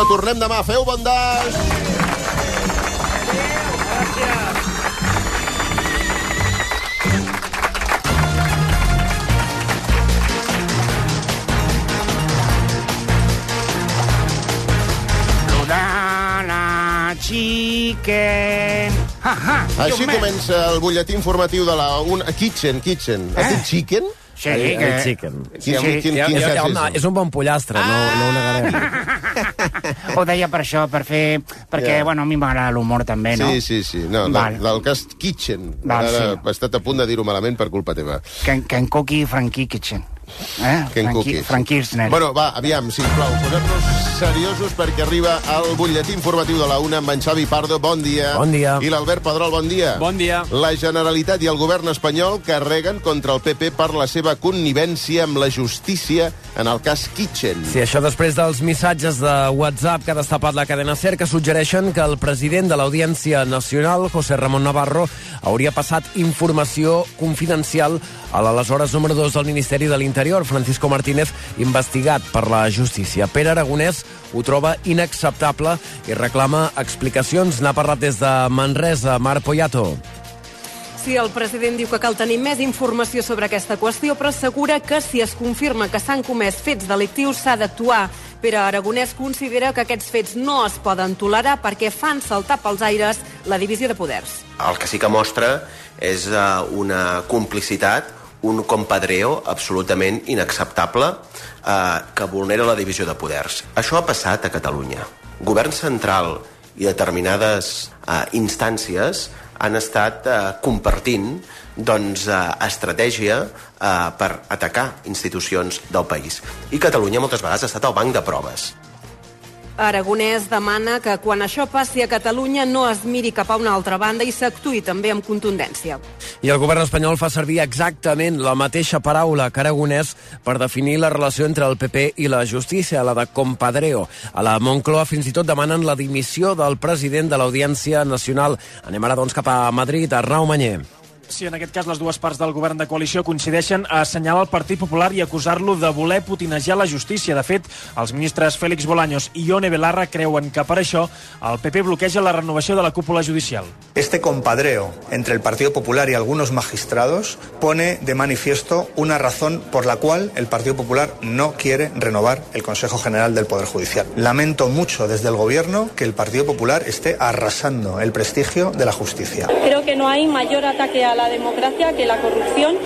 Tornem demà. Feu bon daix! Rodana Chicken. Ha, ha, Així Diumenge. comença el butlletí informatiu de la un... Kitchen, Kitchen. Eh? Has dit chicken? Sí, El, que... el chicken. Quin, quin, quin, quin Ja, saps home, és? és un bon pollastre, Ah! no, no ho negarem. Ho deia per això, per fer... Perquè, Ja. bueno, a mi m'agrada l'humor també, no? Sí, sí, sí. No, Val. del, del cas Kitchen. Val, Ara sí. he estat a punt de dir-ho malament per culpa teva. Can, can Cookie i Frankie Kitchen. Eh? Ken Frankie, Cookies. Frankie Kirchner. Bueno, va, aviam, sisplau, posem-nos seriosos perquè arriba el butlletí informatiu de la UNA amb en Xavi Pardo, bon dia. Bon dia. I l'Albert Pedrol, bon dia. Bon dia. La Generalitat i el govern espanyol carreguen contra el PP per la seva connivència amb la justícia en el cas Kitchen. Sí, això després dels missatges de WhatsApp que ha destapat la cadena SER que suggereixen que el president de l'Audiència Nacional, José Ramon Navarro, hauria passat informació confidencial a l'aleshores número 2 del Ministeri de l'Interior, Francisco Martínez, investigat per la justícia. Pere Aragonès ho troba inacceptable i reclama explicacions. N'ha parlat des de Manresa, Mar Poyato. Sí, el president diu que cal tenir més informació sobre aquesta qüestió, però assegura que si es confirma que s'han comès fets delictius s'ha d'actuar. Pere Aragonès considera que aquests fets no es poden tolerar perquè fan saltar pels aires la divisió de poders. El que sí que mostra és eh, una complicitat, un compadreo absolutament inacceptable eh, que vulnera la divisió de poders. Això ha passat a Catalunya. Govern central i determinades eh, instàncies han estat eh, compartint doncs, eh, estratègia eh, per atacar institucions del país. I Catalunya moltes vegades ha estat el banc de proves. Aragonès demana que quan això passi a Catalunya no es miri cap a una altra banda i s'actuï també amb contundència. I el govern espanyol fa servir exactament la mateixa paraula que Aragonès per definir la relació entre el PP i la justícia, la de compadreo. A la Moncloa fins i tot demanen la dimissió del president de l'Audiència Nacional. Anem ara, doncs, cap a Madrid, Arnau Manyer. Si en aquest cas les dues parts del govern de coalició coincideixen a assenyalar el Partit Popular i acusar-lo de voler putinejar la justícia. De fet, els ministres Félix Bolaños i Ione Belarra creuen que per això el PP bloqueja la renovació de la cúpula judicial. Este compadreo entre el Partido Popular y algunos magistrados pone de manifiesto una razón por la cual el Partido Popular no quiere renovar el Consejo General del Poder Judicial. Lamento mucho desde el Gobierno que el Partido Popular esté arrasando el prestigio de la justicia. Creo que no hay mayor ataque a la democracia que la corrupción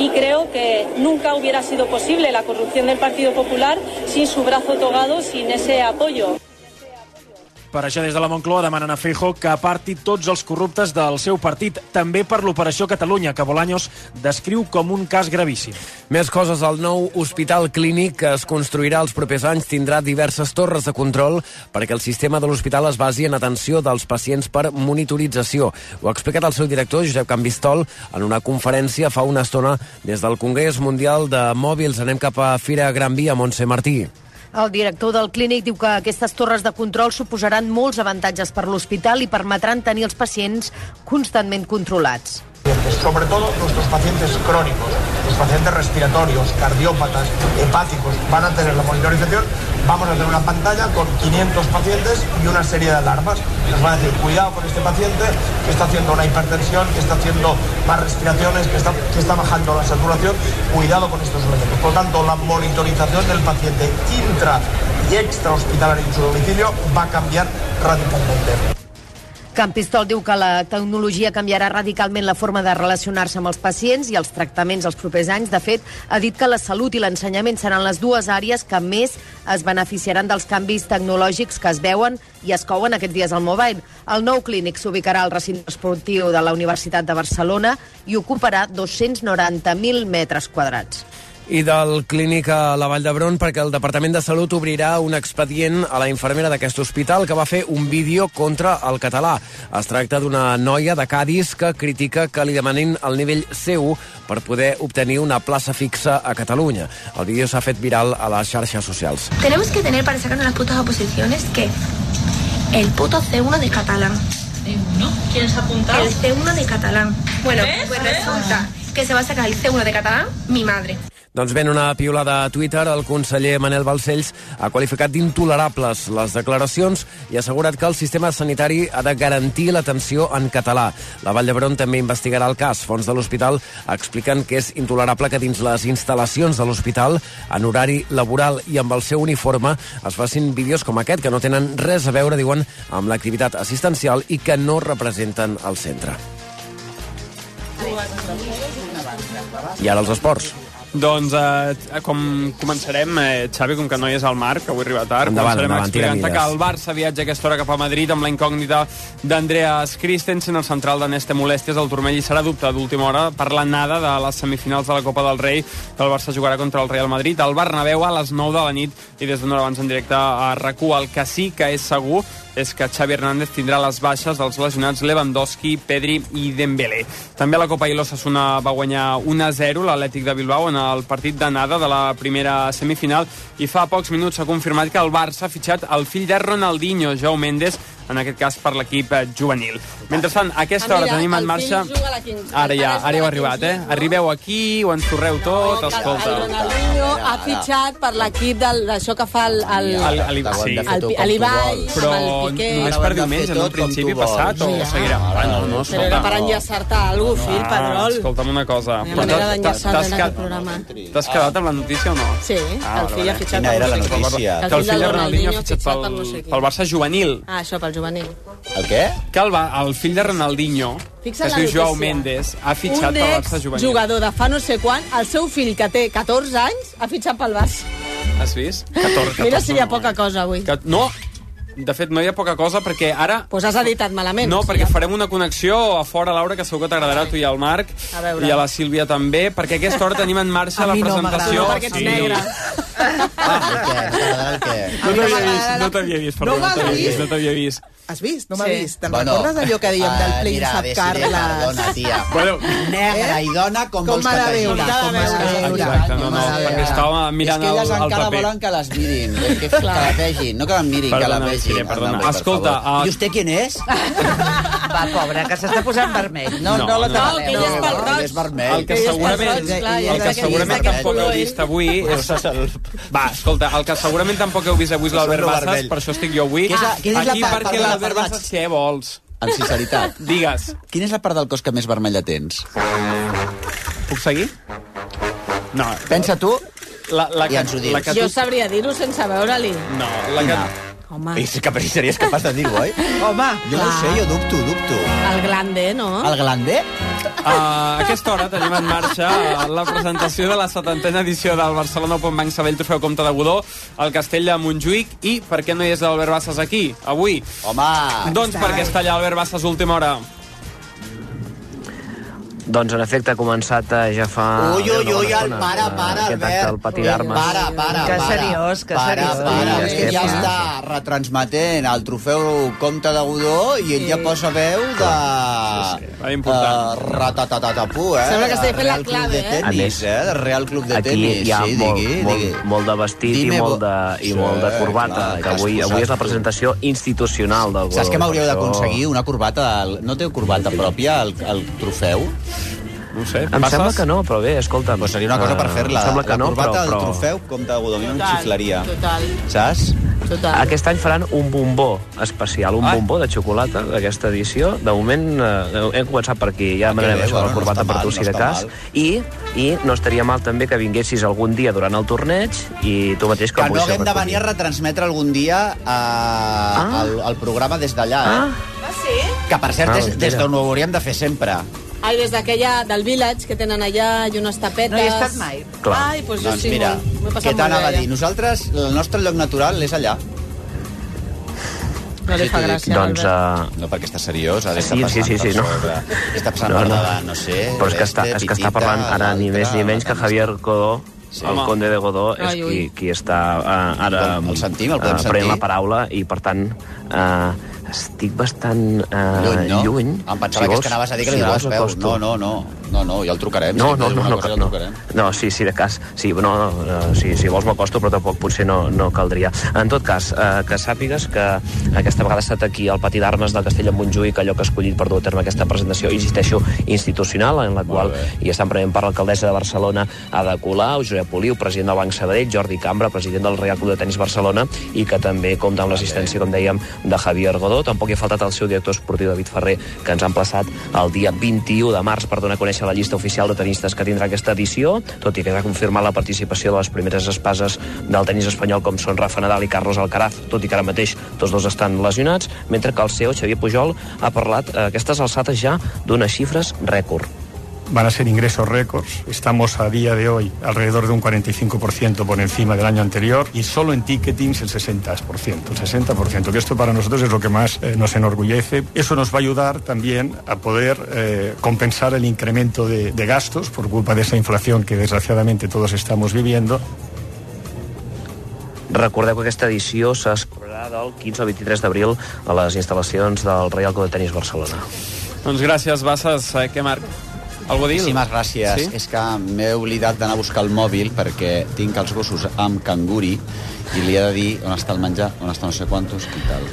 y creo que nunca hubiera sido posible la corrupción del Partido Popular sin su brazo togado, sin ese apoyo. Per això, des de la Moncloa demanen a Feijó que aparti tots els corruptes del seu partit, també per l'operació Catalunya, que Bolaños descriu com un cas gravíssim. Més coses, el nou hospital clínic que es construirà els propers anys tindrà diverses torres de control perquè el sistema de l'hospital es basi en atenció dels pacients per monitorització. Ho ha explicat el seu director, Josep Canvistol, en una conferència fa una estona des del Congrés Mundial de Mòbils. Anem cap a Fira Gran Via, Montse Martí. El director del clínic diu que aquestes torres de control suposaran molts avantatges per l'hospital i permetran tenir els pacients constantment controlats. Sobre todo nuestros pacientes crónicos, los pacientes respiratorios, cardiópatas, hepáticos, van a tener la monitorización. Vamos a tener una pantalla con 500 pacientes y una serie de alarmas. Nos van a decir, cuidado con este paciente que está haciendo una hipertensión, que está haciendo más respiraciones, que está, que está bajando la saturación. Cuidado con estos elementos. Por lo tanto, la monitorización del paciente intra y extra hospitalario en su domicilio va a cambiar radicalmente. Campistol diu que la tecnologia canviarà radicalment la forma de relacionar-se amb els pacients i els tractaments els propers anys. De fet, ha dit que la salut i l'ensenyament seran les dues àrees que més es beneficiaran dels canvis tecnològics que es veuen i es couen aquests dies al mobile. El nou clínic s'ubicarà al recinte esportiu de la Universitat de Barcelona i ocuparà 290.000 metres quadrats. I del clínic a la Vall d'Hebron perquè el Departament de Salut obrirà un expedient a la infermera d'aquest hospital que va fer un vídeo contra el català. Es tracta d'una noia de Cádiz que critica que li demanin el nivell C1 per poder obtenir una plaça fixa a Catalunya. El vídeo s'ha fet viral a les xarxes socials. Tenemos que tener para sacar las putas oposiciones que el puto C1 de catalán. Quieres apuntar? El pues C1 de catalán. Bueno, pues resulta que se va a sacar el C1 de catalán mi madre. Doncs ben una piulada a Twitter, el conseller Manel Balcells ha qualificat d'intolerables les declaracions i ha assegurat que el sistema sanitari ha de garantir l'atenció en català. La Vall d'Hebron també investigarà el cas. Fons de l'hospital expliquen que és intolerable que dins les instal·lacions de l'hospital, en horari laboral i amb el seu uniforme, es facin vídeos com aquest, que no tenen res a veure, diuen, amb l'activitat assistencial i que no representen el centre. I ara els esports. Doncs eh, com començarem, eh, Xavi, com que no hi és al mar, que avui arriba tard, Endavant, començarem endavant, tira explicant-te milles. que el Barça viatja a aquesta hora cap a Madrid amb la incògnita d'Andreas Christensen, el central de Neste Molèsties, el turmell i serà dubte d'última hora per la nada de les semifinals de la Copa del Rei, que el Barça jugarà contra el Real Madrid, al Bernabéu a les 9 de la nit i des d'una hora abans en directe a RAC1. El que sí que és segur és que Xavi Hernández tindrà les baixes dels lesionats Lewandowski, Pedri i Dembélé. També a la Copa Ilo Sassuna va guanyar 1-0 l'Atlètic de Bilbao en el partit d'anada de la primera semifinal i fa pocs minuts s'ha confirmat que el Barça ha fitxat el fill de Ronaldinho, Jou Méndez, en aquest cas per l'equip eh, juvenil. Mentrestant, a aquesta hora Ah, Mira, tenim en el fill marxa... juga a la quinze. Ara ja, El pare juga ara a heu la arribat, quinze, eh? Arribeu aquí, ho ensorreu tot, El escolta. Ronaldinho ha fitxat per l'equip del- d'això que fa el... el, El- el, el- sí. a l'Ibai, Però amb el Piqué... només per diumenge, no? En principi passat, o seguirà? Ah, no, Però era no, escolta. per enllaçar-te a algú, fill, Ah, Pedrol. escolta'm una cosa. Una Però manera t'has- d'enllaçar t'has en ca- aquest programa. T'has quedat amb la notícia o no? Sí, el fill ha fitxat Ah, Quina per era la no sé qui. notícia? Que el fill de Ronaldinho ha fitxat per no sé pel, qui. pel Barça juvenil. Ah, això, pel juvenil. El què? Que el, va- el fill de Ronaldinho, Fixa't que es la diu Joao notícia. Méndez, ha fitxat un pel Barça juvenil. jugador de fa no sé quan, el seu fill, que té 14 anys, ha fitxat pel Barça. Has vist? 14, Mira si hi ha poca cosa avui. Que, no, de fet, no hi ha poca cosa perquè ara... Pues has editat malament. No, perquè farem una connexió a fora, Laura, que segur que t'agradarà a tu i al Marc, A veure. i a la Sílvia també, perquè a aquesta hora tenim en marxa A la mi no presentació... m'agrada, perquè ets negre. Eh. No t'havia vist, no t'havia vist, perdó, No no t'havia m'agrada. vist, no t'havia vist. Has vist? No m'ha Sí. vist. Te'n Bueno, recordes d'allò que dèiem del ah, mira, príncep Desiree Carles? Cardona, tia. Bueno, Negra i dona, com, vols que m'ha de t'hagi? veure, com m'ha de veure. Exacte, no, no, perquè estava Ah, mirant És que elles el- el encara paper. volen que les mirin, és que, que la vegin, no que la mirin, Perdona, que la vegin. Desiree, perdona. Home, per Escolta, favor. ah, I vostè qui és? Va, pobra, que s'està posant vermell. No, No, no, no la no. tapareu. No, que ell és pel roig. és vermell. El que segurament, el que segurament tampoc heu vist avui és... Va, escolta, el que segurament tampoc heu vist avui és l'Albert Rosa Bassas, vermell. per això estic jo avui. Què és la- què és la Aquí part- perquè perdona, l'Albert perdona. Bassas, què vols? Amb sinceritat. Digues. Quina és la part del cos que més vermella tens? Puc seguir? No. Pensa tu La, la i que, ens ho dius. la que Jo tu... sabria dir-ho sense veure-li. No, la que... Home, I sí que series capaç de dir-ho, oi? Home, jo no ho sé, jo dubto, dubto. el glande, no? El glander? Uh, a aquesta hora tenim en marxa eh, la presentació de la setantena edició del Barcelona Open Bank Sabell Trofeu Comte de Godó al Castell de Montjuïc i per què no hi és l'Albert Bassas aquí, avui? Home, Doncs perquè està allà Albert Bassas a última hora. Doncs en efecte ha començat eh, ja fa... Ui, ui, ui, el estona, para, eh, para, Aquest acte al Albert. pati Ui, d'armes. Para, para, Que para. seriós, que para, seriós. Para, Ui, Ah, és que ja que està retransmetent el trofeu Comte de Godó i ell ja posa veu de... Ah, important. Eh, ratatatatapú, eh? Sembla que estigui fent la Real Club clave, de eh? Tenis, eh? De Real Club de aquí Tenis. hi ha sí, molt, digui, molt, digui. molt de vestit Dime i molt vo- de, i Sí, molt de corbata, clar, que avui, t'has avui és la posat tu. presentació institucional del Godó. Saps què m'hauríeu per això- d'aconseguir? Una corbata... al- No té corbata pròpia, el, el trofeu? No ho sé. Em sembla que no, però bé, escolta'm. Pues Seria una cosa per fer-la. Em sembla que la no, corbata però, del però... trofeu, com de Godó, a mi em xiflaria. Total, Saps? total. Aquest any faran un bombó especial, un Ai. bombó de xocolata d'aquesta edició. De moment eh, hem començat per aquí, ja Ah, que demanem bé, això de bueno, la no corbata està per mal, tu, no si de està cas. mal. I, I no estaria mal també que vinguessis algun dia durant el torneig i tu mateix Que com no haguem de venir a retransmetre algun dia a, ah. el, el programa des d'allà, eh? Ah, Va ser? Que, per cert, Ah, és des mira. d'on ho hauríem de fer sempre. Ai, des d'aquella del Village, que tenen allà, i unes tapetes... No hi he estat mai. Clar. Ai, doncs jo doncs sí, mira, molt. M'ho he què passat molt t'anava a bé. eh? dir? allà. Nosaltres, el nostre lloc natural és allà. No li Sí, fa t'ho dic. gràcia, Doncs... l'Albert. Eh, No, perquè està seriós, ara està Sí, sí, passant sí, sí, per no. sobre. Està passant no, No, per no. davant, no sé... Però és que està, d'este, és que està pitita, parlant ara ni l'altre, més ni menys que l'altre. Javier Godó, Sí. el Home. conde de Godó, és Ai, ui. qui, qui està eh, ara El- el sentim, el podem eh, prenent sentir? la paraula i, per tant, eh, estic bastant eh, Lluny, no? lluny. Em pensava que és que anaves a dir que li donaves vols, peus. acosto. No, no, no. No, no, ja el trucarem. No, si no, té no, alguna no, cosa, ja el no. trucarem. No, sí, sí, de cas. Sí, no, no, no, sí, si vols m'acosto, però tampoc potser no, no caldria. En tot cas, eh, que sàpigues que aquesta vegada ha estat aquí al Pati d'Armes del Castell en Montjuïc, allò que ha escollit per dur a terme aquesta presentació, insisteixo, institucional, en la qual hi estan prenent part l'alcaldessa de Barcelona, Ada Colau, Josep Poliu, president del Banc Sabadell, Jordi Cambra, president del Real Club de Tenis Barcelona, i que també compta amb l'assistència, Eh, com dèiem, de Javier Godó. Tampoc hi ha faltat el seu director esportiu, David Ferrer, que ens ha emplaçat el dia 21 de març per donar a conèixer la llista oficial de tenistes que tindrà aquesta edició, tot i que ja ha confirmat la participació de les primeres espases del tenis espanyol com són Rafa Nadal i Carlos Alcaraz, tot i que ara mateix tots dos estan lesionats, mentre que el CEO, Xavier Pujol, ha parlat a aquestes alçades ja d'unes xifres rècord. van a ser ingresos récords. Estamos a día de hoy alrededor de un 45% por encima del año anterior y solo en ticketing el 60%, el 60%, que esto para nosotros es lo que más eh, nos enorgullece. Eso nos va a ayudar también a poder eh, compensar el incremento de, de gastos por culpa de esa inflación que desgraciadamente todos estamos viviendo. Recordeu que aquesta edició s'ha celebrarà del 15 al 23 d'abril a les instal·lacions del Real Club de Tenis Barcelona. Doncs gràcies, Bassas. Eh, Què, Marc? Algú a dir? Moltíssimes gràcies. Sí? Sí? És que m'he oblidat d'anar a buscar el mòbil perquè tinc els gossos amb canguri i li he de dir on està el menjar, on està no sé quantos i tal.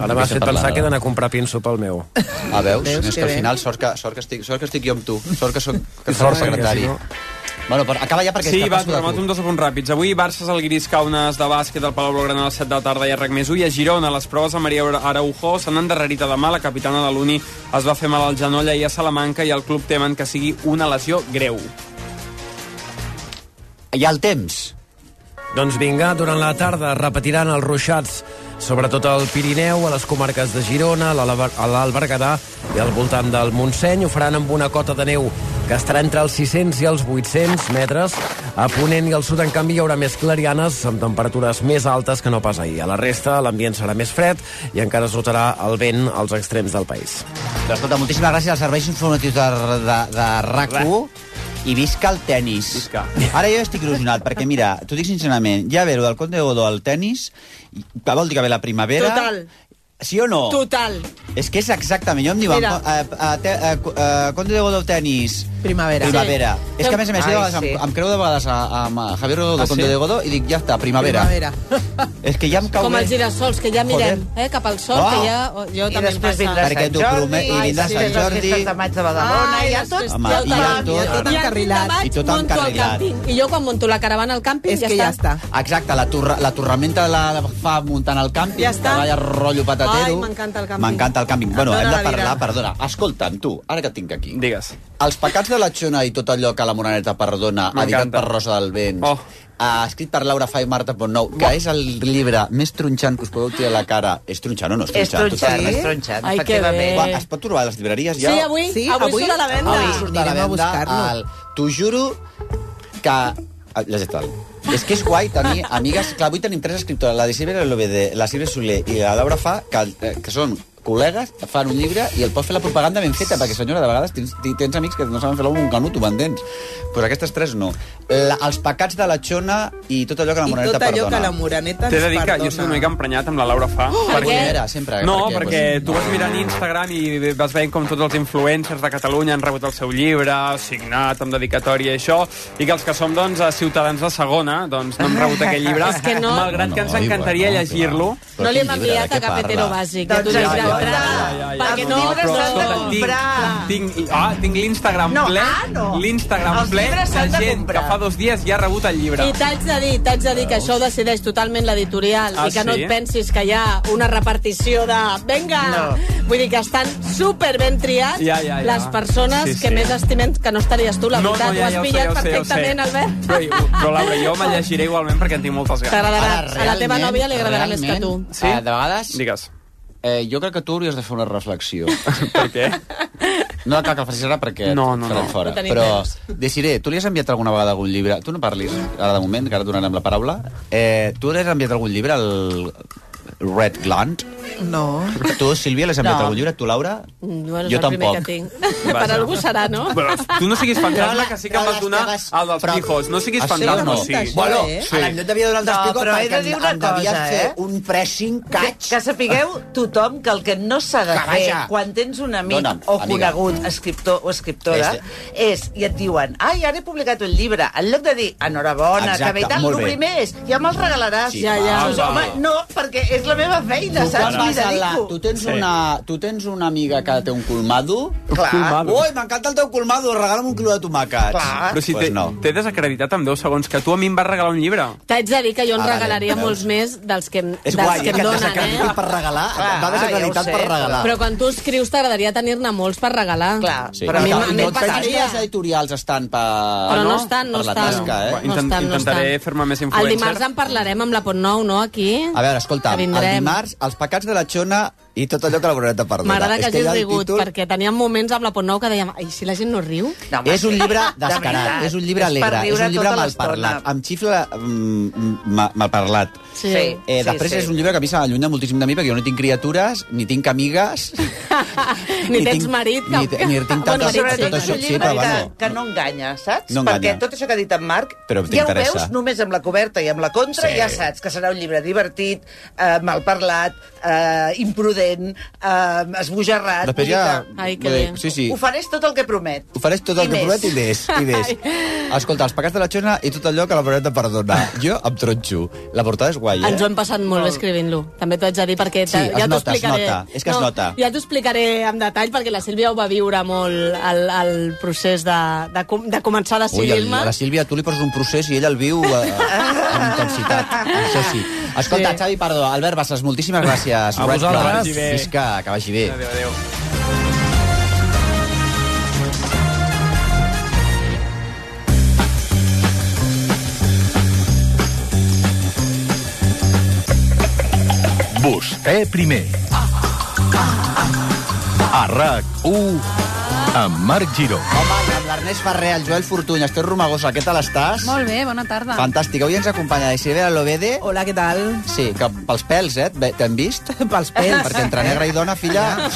Ara m'has fet pensar que he d'anar a comprar pinso pel meu. A eh? Ah, veus? Veus Veus és que que al bé. final sort que, sort, que estic, sort que estic jo amb tu. Sort que soc que Sort sort perquè secretari. si No... no- Bueno, però acaba ja perquè... Sí, és que va, passo de programat un dos apunts ràpids. Avui, Barça és el gris caunes de bàsquet al Palau Blaugrana a les 7 de la tarda i a RAC més u. I a Girona, les proves a Maria Araujo s'han endarrerit a demà. La capitana de l'Uni es va fer mal al genoll i a Salamanca i el club temen que sigui una lesió greu. Hi ha el temps. Doncs vinga, durant la tarda repetiran els ruixats sobretot al Pirineu, a les comarques de Girona, a l'Alba- a l'Albergadà i al voltant del Montseny. Ho faran amb una cota de neu que estarà entre els 600 i els 800 metres. A Ponent i al sud, en canvi, hi haurà més clarianes amb temperatures més altes que no pas ahir. A la resta, l'ambient serà més fred i encara sotarà el vent als extrems del país. Doncs, Escolta, moltíssimes gràcies als serveis informatius de, de, de RAC1 i visca el tennis. Visca. Ara jo estic il·lusionat, perquè mira, t'ho dic sincerament, ja ve lo del Conde Godó al tennis, i- que vol dir que ve la primavera... Total. Sí o no? Total. És que és exactament, jo em diuen... Mira. Eh, eh, te, eh, cu- eh, Conde de Godó Tenis... Primavera. Primavera. Sí. És que a més a més, jo Ai, de vegades em, sí. em creu de vegades a, a, a Javier Rodó, Ah, ah, sí? Conde de Godó, i dic, ja està, primavera. Primavera. És que ja em cau Com bé. els girassols, que ja mirem eh, cap al sol, Oh. que ja... oh, Jo I també em després passa. vindrà Perquè Sant t'ho Jordi, promet- i vindrà sí, Sant les Jordi. festes de maig de Badalona, Ai, ja les tot... festes- Home, ja ho i ja tenim, tot- ja tot i encarrilat. i tot Monto el encarrilat. càmping. I jo quan monto la caravana al càmping, És que ja està. Exacte, la, torre, la torramenta la, la fa muntant el càmping, Ja està. que vaya rotllo patatero. Ai, m'encanta el càmping. M'encanta el càmping. Em Bueno, dóna hem de la vida. parlar, perdona, escolta'm, tu, ara que et tinc aquí. Digues. Els pecats de la Xona i tot allò que la Moraneta perdona, editat M'encanta. per Rosa del Vents, oh. Uh, escrit per Laura Fai i Marta Pontnou, que és el llibre més tronxant que us podeu tirar a la cara. És tronxant o no és És tronxant? tronxant, Totalment. és tronxant, Ai, que efectivament. bé. Quan es pot trobar a les llibreries ja? Sí, avui, Sí, avui, avui? surt a la venda. Avui surt a la Anirem venda a buscar-lo. el... T'ho juro que... Ah, Llegeix-te'l. És que és guai tenir amigues... Clar, avui tenim tres escriptores, la Dicibera Lobede, la Silvia Soler i la Laura Fa, que, eh, que són col·legues, fan un llibre i el pots fer la propaganda ben feta, perquè, senyora, de vegades tens, ti- tens amics que no saben fer-lo amb un canut, ho vendents. Doncs pues aquestes tres no. La, els pecats de la Xona i tot allò que la I Moreneta tot allò perdona. que la Moreneta T'he de dir que jo estic una mica emprenyat amb la Laura Fa. Oh, Era, eh, sempre, No, perquè, perquè, tu vas mirant Instagram i vas veient com tots els influencers de Catalunya han rebut el seu llibre, signat, amb dedicatòria i això, i que els que som, doncs, ciutadans de segona, doncs, no hem rebut aquell llibre, És que no. malgrat que ens No, no, encantaria igual, no, llegir-lo. No li hem enviat a cap hetero bàsic. Doncs ja, ja, ja, Perquè no, però però... escolta, Tinc, tinc, ah, tinc l'Instagram No, ple, ah, no. l'Instagram Els ple llibres s'han de de gent que fa dos dies ja ha rebut el llibre. I t'haig de dir, t'haig de dir que això ho decideix totalment l'editorial Ah, i que no sí? et pensis que hi ha una repartició de venga, no. vull dir que estan super ben triats Ja, ja, ja. les persones Sí, que sí. més estimen que no estaries tu, la No, no, veritat, ja, ho has ja ho sé, pillat ja ho sé, ja ho sé. perfectament, Albert. Però, però Laura, jo me llegiré igualment perquè en tinc moltes ganes. T'agradarà. A la teva realment, nòvia li agradarà més que tu. realment, Sí? Eh, de vegades... Digues. Eh, jo crec que tu hauries de fer una reflexió. per què? No cal que el facis ara perquè No, no, et faran no. fora. No tenim Però, temps. Desiré, tu li has enviat alguna vegada algun llibre... Tu no parlis ara de moment, que ara et donarem la paraula. Eh, tu li has enviat algun llibre al Red Gland? No. Tu, Sílvia, l'has enviat No. no. algun llibre? Tu, Laura? No, és Jo el primer tampoc. que tinc. Per algú serà, no? Però tu no siguis fantasma, que sí que em vas donar el dels pijos. No Ah, siguis fantasma, o sigui. Bueno, eh? sí. ara jo t'havia donat No, no, explico però he de dir una devies cosa, fer eh? un pressing catch. Que, que sapigueu tothom que el que no s'ha de Que fer vaja. quan tens un amic Dona'm, o amiga. conegut escriptor o escriptora Este. és, i et diuen, ai, ara he publicat un llibre, en lloc de dir, enhorabona, Exacte, que bé i tal, molt el bé. primer és, ja me'ls regalaràs. Sí, Ja, ja. Dius, va. home, no, perquè és la meva feina, saps? M'hi dedico. tu, tens una, tu tens una amiga que té un colmado? Clar. Colmado. Ui, m'encanta el teu colmado, regala'm un quilo de tomàquets. Clar. Però si Pues t'he Doncs no. t'he desacreditat amb 10 segons, que tu a mi em vas regalar un llibre. T'haig de dir que jo en Ah, vale, regalaria veus. molts més dels que, em- És dels guai, que que em et donen, eh? desacreditin per regalar, Clar, et va desacreditat ja ho sé, per regalar. Però quan tu escrius t'agradaria tenir-ne molts per regalar. Clar, Sí. Però a mi, no, a mi no, em et pensis que passaria. les editorials estan per, Però no estan, no per la estan. tasca, eh? No estan, no Intentaré estan. fer-me més El dimarts influencer. en parlarem amb la Pot Nou, no?, aquí. A veure, escolta, Que el vindrem. dimarts, els pecats de la Xona i tot allò que la Bruneta perdona. M'agrada que, És hagis ja el rigut, títol perquè teníem moments amb la Pot Nou que dèiem ai, si la gent no riu... No, és un llibre descarat, és tota un llibre alegre, és un tota llibre malparlat, amb xifla mm, ma- malparlat. Sí. Eh, Sí, després sí. és un llibre que a mi se m'allunya moltíssim de mi perquè jo no tinc criatures, ni tinc amigues... Ni ni tens tinc- marit... ni te- ni tinc tantes- bueno, tot sobretot és això, un sí, llibre però que, bueno. que no enganya, saps? No enganya. Perquè tot això que ha dit en Marc, Però ja ho t'interessa. veus només amb la coberta i amb la contra, Sí. sí. ja saps que serà un llibre divertit, eh, mal parlat, eh, imprudent, eh, esbojarrat... Després ja- Ai, que bé. Sí, sí. Ofereix tot el que promet. Ofereix tot el I que més. promet i més, i més. Escolta, els pecats de la Xona i tot allò que la Bruneta perdona. Jo em tronxo. La portada és guai, eh? Ens ho hem passat molt bé escrivint-lo. També t'ho haig de dir perquè... Sí, es nota, t'ho es explicaré. nota. És que es nota. Ja t'ho explicaré en detall perquè la Sílvia ho va viure molt el, el procés de, de, com- de començar Ui, a el, decidir-me. la Sílvia, tu li poses un procés i ella el viu eh, amb intensitat. Això sí. Escolta, Sí. Xavi, perdó, Albert Bassas, moltíssimes gràcies. A vosaltres. Visca, que vagi bé. Adéu, adéu. Vostè eh, primer. A RAC1 amb Marc Giró. Home, i amb l'Ernest Ferrer, el Joel Fortuny, Esther Romagosa, què tal estàs? Molt Eh, bé, bona tarda. Fantàstic, avui ens acompanya la Isabel Lovede. Hola, què tal? Sí, que pels pèls, eh? et ve- T'hem vist? Pels pèls. Perquè entre negra i dona, filla,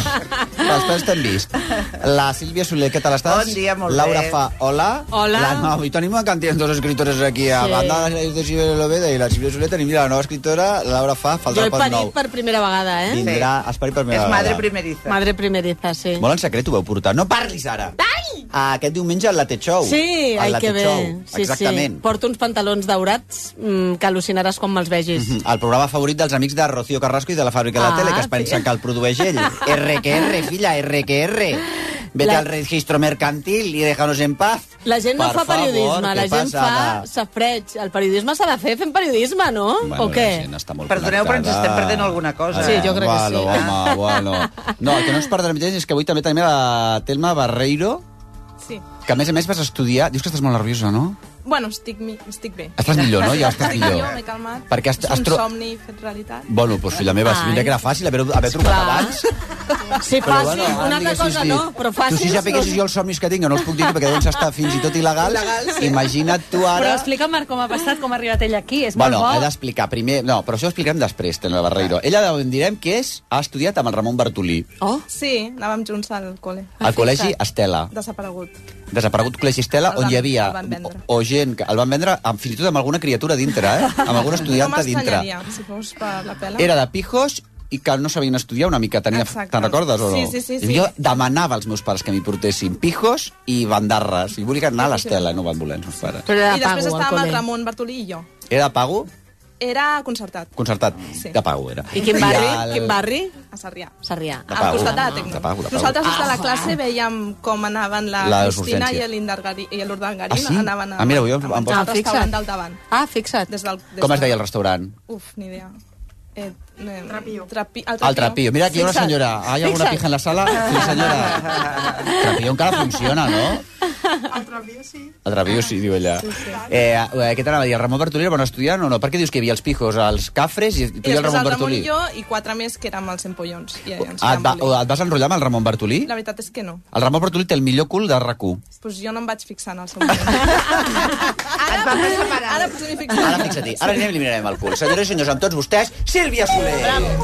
pels pèls t'hem vist. La Sílvia Soler, què tal estàs? Bon dia, molt Laura bé. fa hola. Hola. La, no, avui tenim una quantitat de dos escriptores aquí. A Sí. banda de la Isabel Lovede i la Sílvia Soler tenim la nova escriptora, la Laura fa, Jo faltarà he pel parit nou. per primera vegada, eh? Vindrà, has parit per primera vegada. primeriza. Madre primeriza, sí. Molt en secret ho veu portar. No parlis ara! Ai! Ah, Aquest diumenge al Late Show. Sí, al ai, Late que bé. Show. Sí, Exactament. Sí. Porto uns pantalons daurats mm, que al·lucinaràs quan me'ls vegis. Mhm, El programa favorit dels amics de Rocío Carrasco i de la Fàbrica de la Ah, Tele, que es pensen que el produeix ell. R que R, filla, R que R. Vete La- al registro mercantil i déjanos en paz. La gent no Per fa favor, periodisme, la què gent passa fa de- safreig. El periodisme s'ha de fer fent periodisme, no? Bueno, o què? la gent està molt Perdoneu, però ens connectada. estem perdent alguna cosa. Sí, jo crec que bueno, sí. Ah. Home, bueno. No, el que no ens perdrem gens és que avui també tenim la Telma Barreiro, Sí. que a més a més vas estudiar... Dius que estàs molt nerviosa, no? Bueno, estic, mi, estic bé. Estàs millor, no? Ja estàs estic millor. m'he calmat. Perquè has- És has un tro- somni fet realitat. Bueno, doncs filla meva, Ai. mira que era fàcil haver, haver trucat Clar. abans. Sí, Però, fàcil. ara em Una altra diguessis cosa dir, no, però fàcil. Tu si ja peguessis jo els somnis que tinc, que no els puc dir perquè deuen estar fins i tot il·legals, Il·legals, sí. imagina't tu Però ara... explica, Marc, com ha passat, com ha arribat ell aquí. És Bueno, he molt bo. d'explicar primer... No, però això ho explicarem després, Tena Barreiro. Ella en direm que és, ha estudiat amb el Ramon Bartolí, Oh? Sí, anàvem junts al col·le. al Col·legi Estela. Desaparegut. Desaparegut Col·legi Estela, El on van- hi havia el van vendre. o, o gent que el van vendre amb, fins i tot amb alguna criatura dintre, eh? Amb algun estudiant no dintre. m'estranyaria, si fos per la pela. Era de pijos i que no sabien estudiar una mica. Tenia, Exacte. te'n recordes o no? Sí, sí, sí, sí. Jo demanava als meus pares que m'hi portessin pijos i bandarres. I volia anar a l'Estela, no van voler els meus pares. I després estàvem el Ramon Bartolí i jo. Era de pago? Era concertat. Concertat. Sí. De pago era. I quin barri? Quin barri? A Sarrià. Sarrià. De Al pago. costat de la Tecno. De pago, de pago. Nosaltres des de la classe veiem com anaven la, Les Cristina i urgències. l'Urdangarín. I l'Urdangarín Ah, sí? Anaven a, Ah, mira, avui em- a em menjar poso- al Ah, restaurant fixa't. del davant. Ah, fixa't. Des del, des Com es del- deia el restaurant? Uf, ni idea. Eh, eh, trapillo. Trapi, El trapillo. Mira, aquí hi ha una Fixa't. senyora. Ah, hi ha alguna Fixa't. pija en la sala? Sí, senyora. El trapillo encara funciona, no? El trapillo sí. El trapillo sí, diu ella. Sí, sí. Eh, eh, què t'anava a dir? El Ramon Bartolí era bon estudiant o no? Per què dius que hi havia els pijos, els cafres i tu I i el després Ramon el Ramon i Bartolí? jo i quatre més que érem els empollons. I ens Ah, et, quedàvem va, molt o et vas enrotllar amb el Ramon Bartolí? bé. La veritat és que no. El Ramon Bartolí té el millor cul de rac Pues jo no em vaig fixar en el seu moment. ara potser- ara potser m'hi fixaré. Ara fixa-t'hi, ara anem i li mirarem el cul. Senyores i senyors, amb tots vostès, Sílvia Soler! Bravo.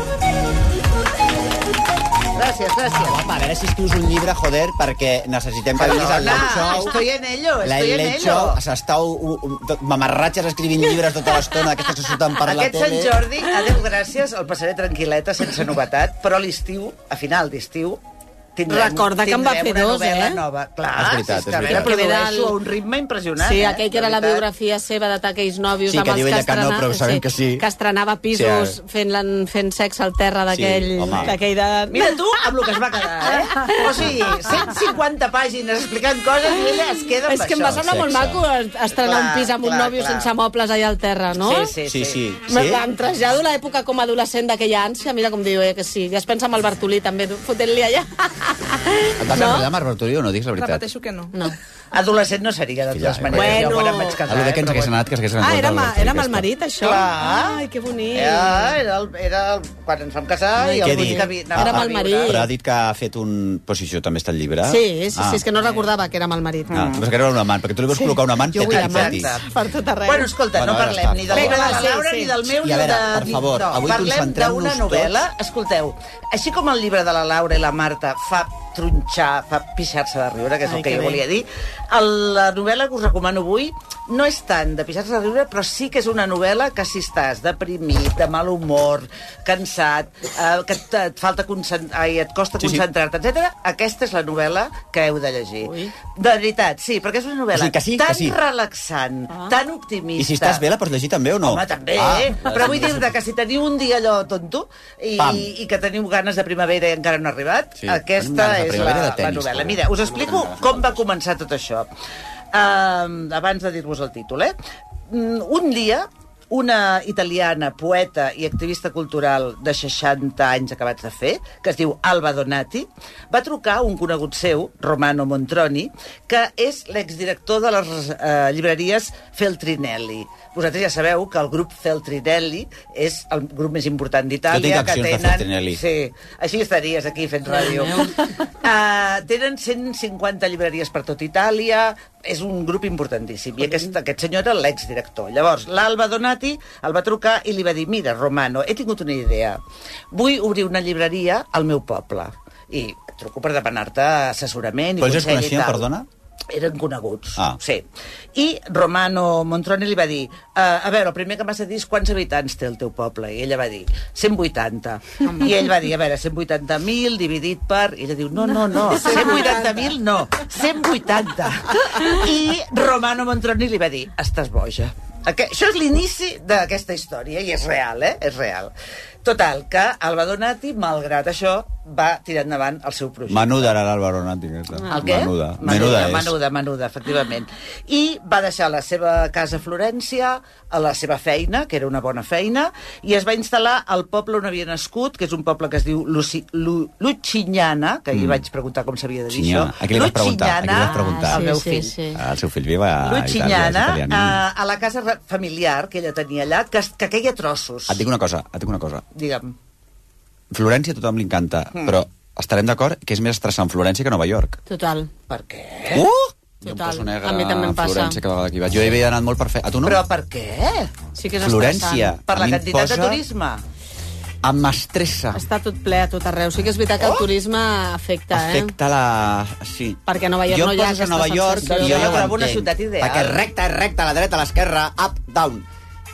Gràcies, gràcies. Guapa, a veure si escrius un llibre, joder, perquè necessitem que vinguis al Late Perdona, Show. estoy en ello, La estoy en Late Show, ello. s'estàu u- u- tot- mamarratxes escrivint llibres tota l'estona, aquestes que surten per la Aquest tele. Sant Jordi, a Déu gràcies, el passaré tranquil·leta, sense novetat, però a l'estiu, a final d'estiu, tindrem, Recorda que en va tindrem fer una dos, novel·la eh? nova. Clar, És veritat, si és és que veritat. la produeixo Era a el- un ritme impressionant. Sí, eh? aquell que era la veritat. biografia seva d'Ataquells Nòvios Sí, que amb els diu ella que no, estrena- però sabem que sí. Que estrenava pisos Sí, fent, fent sexe al terra d'aquell... Sí, home. d'aquell de... Mira tu amb el que es va quedar, eh? O sigui, 150 pàgines explicant coses i ella es queda amb És que em va això. semblar molt maco estrenar un Clar, pis amb un clar, nòvio clar. sense mobles allà al terra, no? Sí, sí. sí. Me va entrejar de l'època com a adolescent d'aquella ànsia, mira com diu, eh, que sí. Ja es pensa amb el Bartolí també, fotent-li allà. Et vas enredar amb el Bartolí o no? Digues la veritat. que no. No. Adolescent no seria, de totes Filla, maneres. bueno. Jo quan em vaig A casar, lo de eh, que ens però hagués bueno. anat, que ens hagués Ah, enredat era, el ma, Bartolí, era amb el aquesta. marit, això? Clar. Ai, que bonic. Ja, era, el, era el, quan ens vam casar i Què el ha dit? Rudi que vi- Ah, anava a ah, viure. Però ha dit que ha fet un... Però si això també està al llibre. Sí, sí, sí, és que no recordava que era amb el marit. Ah, vas creure un amant, perquè tu li vols col·locar un amant Jo vull peti, amants peti. per tot arreu. Bueno, escolta, Bueno, no ara parlem està. ni del llibre de Vinga, la sí, Laura, sí. ni del meu, I a veure, ni de... per favor, no, avui parlem concentrem-nos d'una novel·la... Escolteu, així com el llibre de la Laura i la Marta fa tronxar, fa pixar-se de riure, que és Ai, el que, que jo bé. volia dir, el, la novel·la que us recomano avui no és tant de pixar-se de riure, però sí que és una novel·la que si estàs deprimit, de mal humor, cansat, eh, que et, et falta concent... Ai, et costa Sí, sí. concentrar-te, etc. aquesta és la novel·la que heu de llegir. Ui. De veritat, sí, perquè és una novel·la O sigui, que sí, que tan sí. Ah. relaxant, tan optimista... I si estàs bé, la pots llegir també o no? Home, també, Ah, eh? Però vull dir-te que si teniu un dia allò tonto i, Pam. i que teniu ganes de primavera i encara no ha arribat, Sí, sí, tenim ganes aquesta de és la, primavera de la tenis, novel·la. també. Mira, us explico com va començar tot això. Uh, abans de dir-vos el títol, eh? Mm, Un dia, una italiana, poeta i activista cultural de 60 anys acabats de fer, que es diu Alba Donati, va trucar a un conegut seu, Romano Montroni, que és l'exdirector de les eh, llibreries Feltrinelli. Vosaltres ja sabeu que el grup Feltrinelli és el grup més important d'Itàlia. Jo tinc accions de Feltrinelli. Sí, així estaries aquí fent ràdio. Uh, tenen 150 llibreries per tot Itàlia, és un grup importantíssim. I aquest, aquest senyor era l'exdirector. Llavors, l'Alba Donati el va trucar i li va dir «Mira, Romano, he tingut una idea. Vull obrir una llibreria al meu poble». I et truco per demanar-te assessorament i Però ells es consell i coneixien, tal perdona? eren coneguts, Ah. sí. I Romano Montrone li va dir, eh, a veure, el primer que m'has de dir és quants habitants té el teu poble. I ella va dir, 180. I ell va dir, a veure, 180.000 dividit per... I ella diu, no, no, no, 180.000 no, 180. I Romano Montrone li va dir, estàs boja. Aquest, això és l'inici d'aquesta història, i és real, eh? És real. Total, que Alba Donati, malgrat això, va tirar endavant el seu projecte. Menuda era l'Alba Ronati, aquesta. El què? Menuda. Ah, Menuda, és. Ah. Menuda, menuda, efectivament. I va deixar la seva casa a Florència, a la seva feina, que era una bona feina, i es va instal·lar al poble on havia nascut, que és un poble que es diu Luci, Lu, Lucignana, que mm. hi vaig preguntar com s'havia de dir Lucignana. això. A qui li vas preguntar? A qui li vas Lucignana, preguntar? al meu sí, fill. sí. Ah, El seu fill viu a Itàlia, és Lucignana, italià. a, a la casa re- familiar que ella tenia allà, que, es- que queia a trossos. Et dic una cosa, et dic una cosa. Digue'm. Florència a tothom li encanta, Mm. però estarem d'acord que és més estressant Florència que Nova York. Total. Per què? Uh! Jo em Total. poso negre A mi també em a Florència passa. cada vegada que hi vaig. Jo hi havia anat molt per fer... A tu no? Però per què? Sí que és Florència. estressant. Per A la mi em quantitat posa- de turisme. Em estressa. Està tot ple a tot arreu. Sí que és veritat Oh! que el turisme afecta, eh? Afecta la... Sí. Perquè a Nova York jo no em hi ha poses a aquesta Nova York i sensació. jo ja Jo ho trobo una entenc, ciutat ideal. Perquè recta és recta, a la dreta, a l'esquerra, up, down.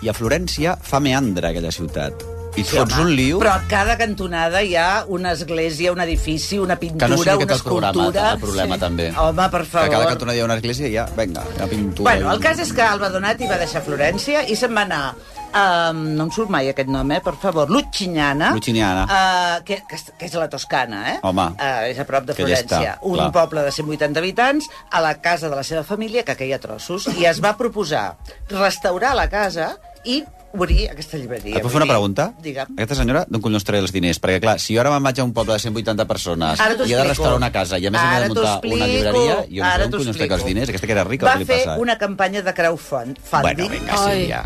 I a Florència fa meandre aquella ciutat. I et fots home, un liu... Però a cada cantonada hi ha una església, un edifici, una pintura, Que no sigui aquest una el programa, escultura... el problema, també. Home, per Que a favor. cada cantonada hi ha una església i ja, vinga, la pintura. Bueno, el cas és que Alba Donati va deixar Florència i se'n va anar a... no em surt mai aquest nom, eh? Per favor, Lucignana. Lucignana. eh, que, que, és- que és a la Toscana, eh? Home. Eh, és a prop de Que ja està, Florència. un clar. poble de 180 habitants, a la casa de la seva família, que queia a trossos, i es va proposar restaurar la casa i obrir aquesta llibreria. Et puc fer una Vull dir, pregunta? Digue'm. Aquesta senyora, d'on collons traia els diners? Perquè, clar, si jo ara me'n vaig a un poble de 180 persones Ara t'ho i he de restaurar explico. una casa i a més he Ara de t'ho muntar una explico. llibreria, jo no Ara sé d'on t'ho collons traia els explico. diners. Aquesta que era rica, Va què li fer passa? eh? una campanya de crowdfunding. Bueno, vinga, sí, Ai. ja.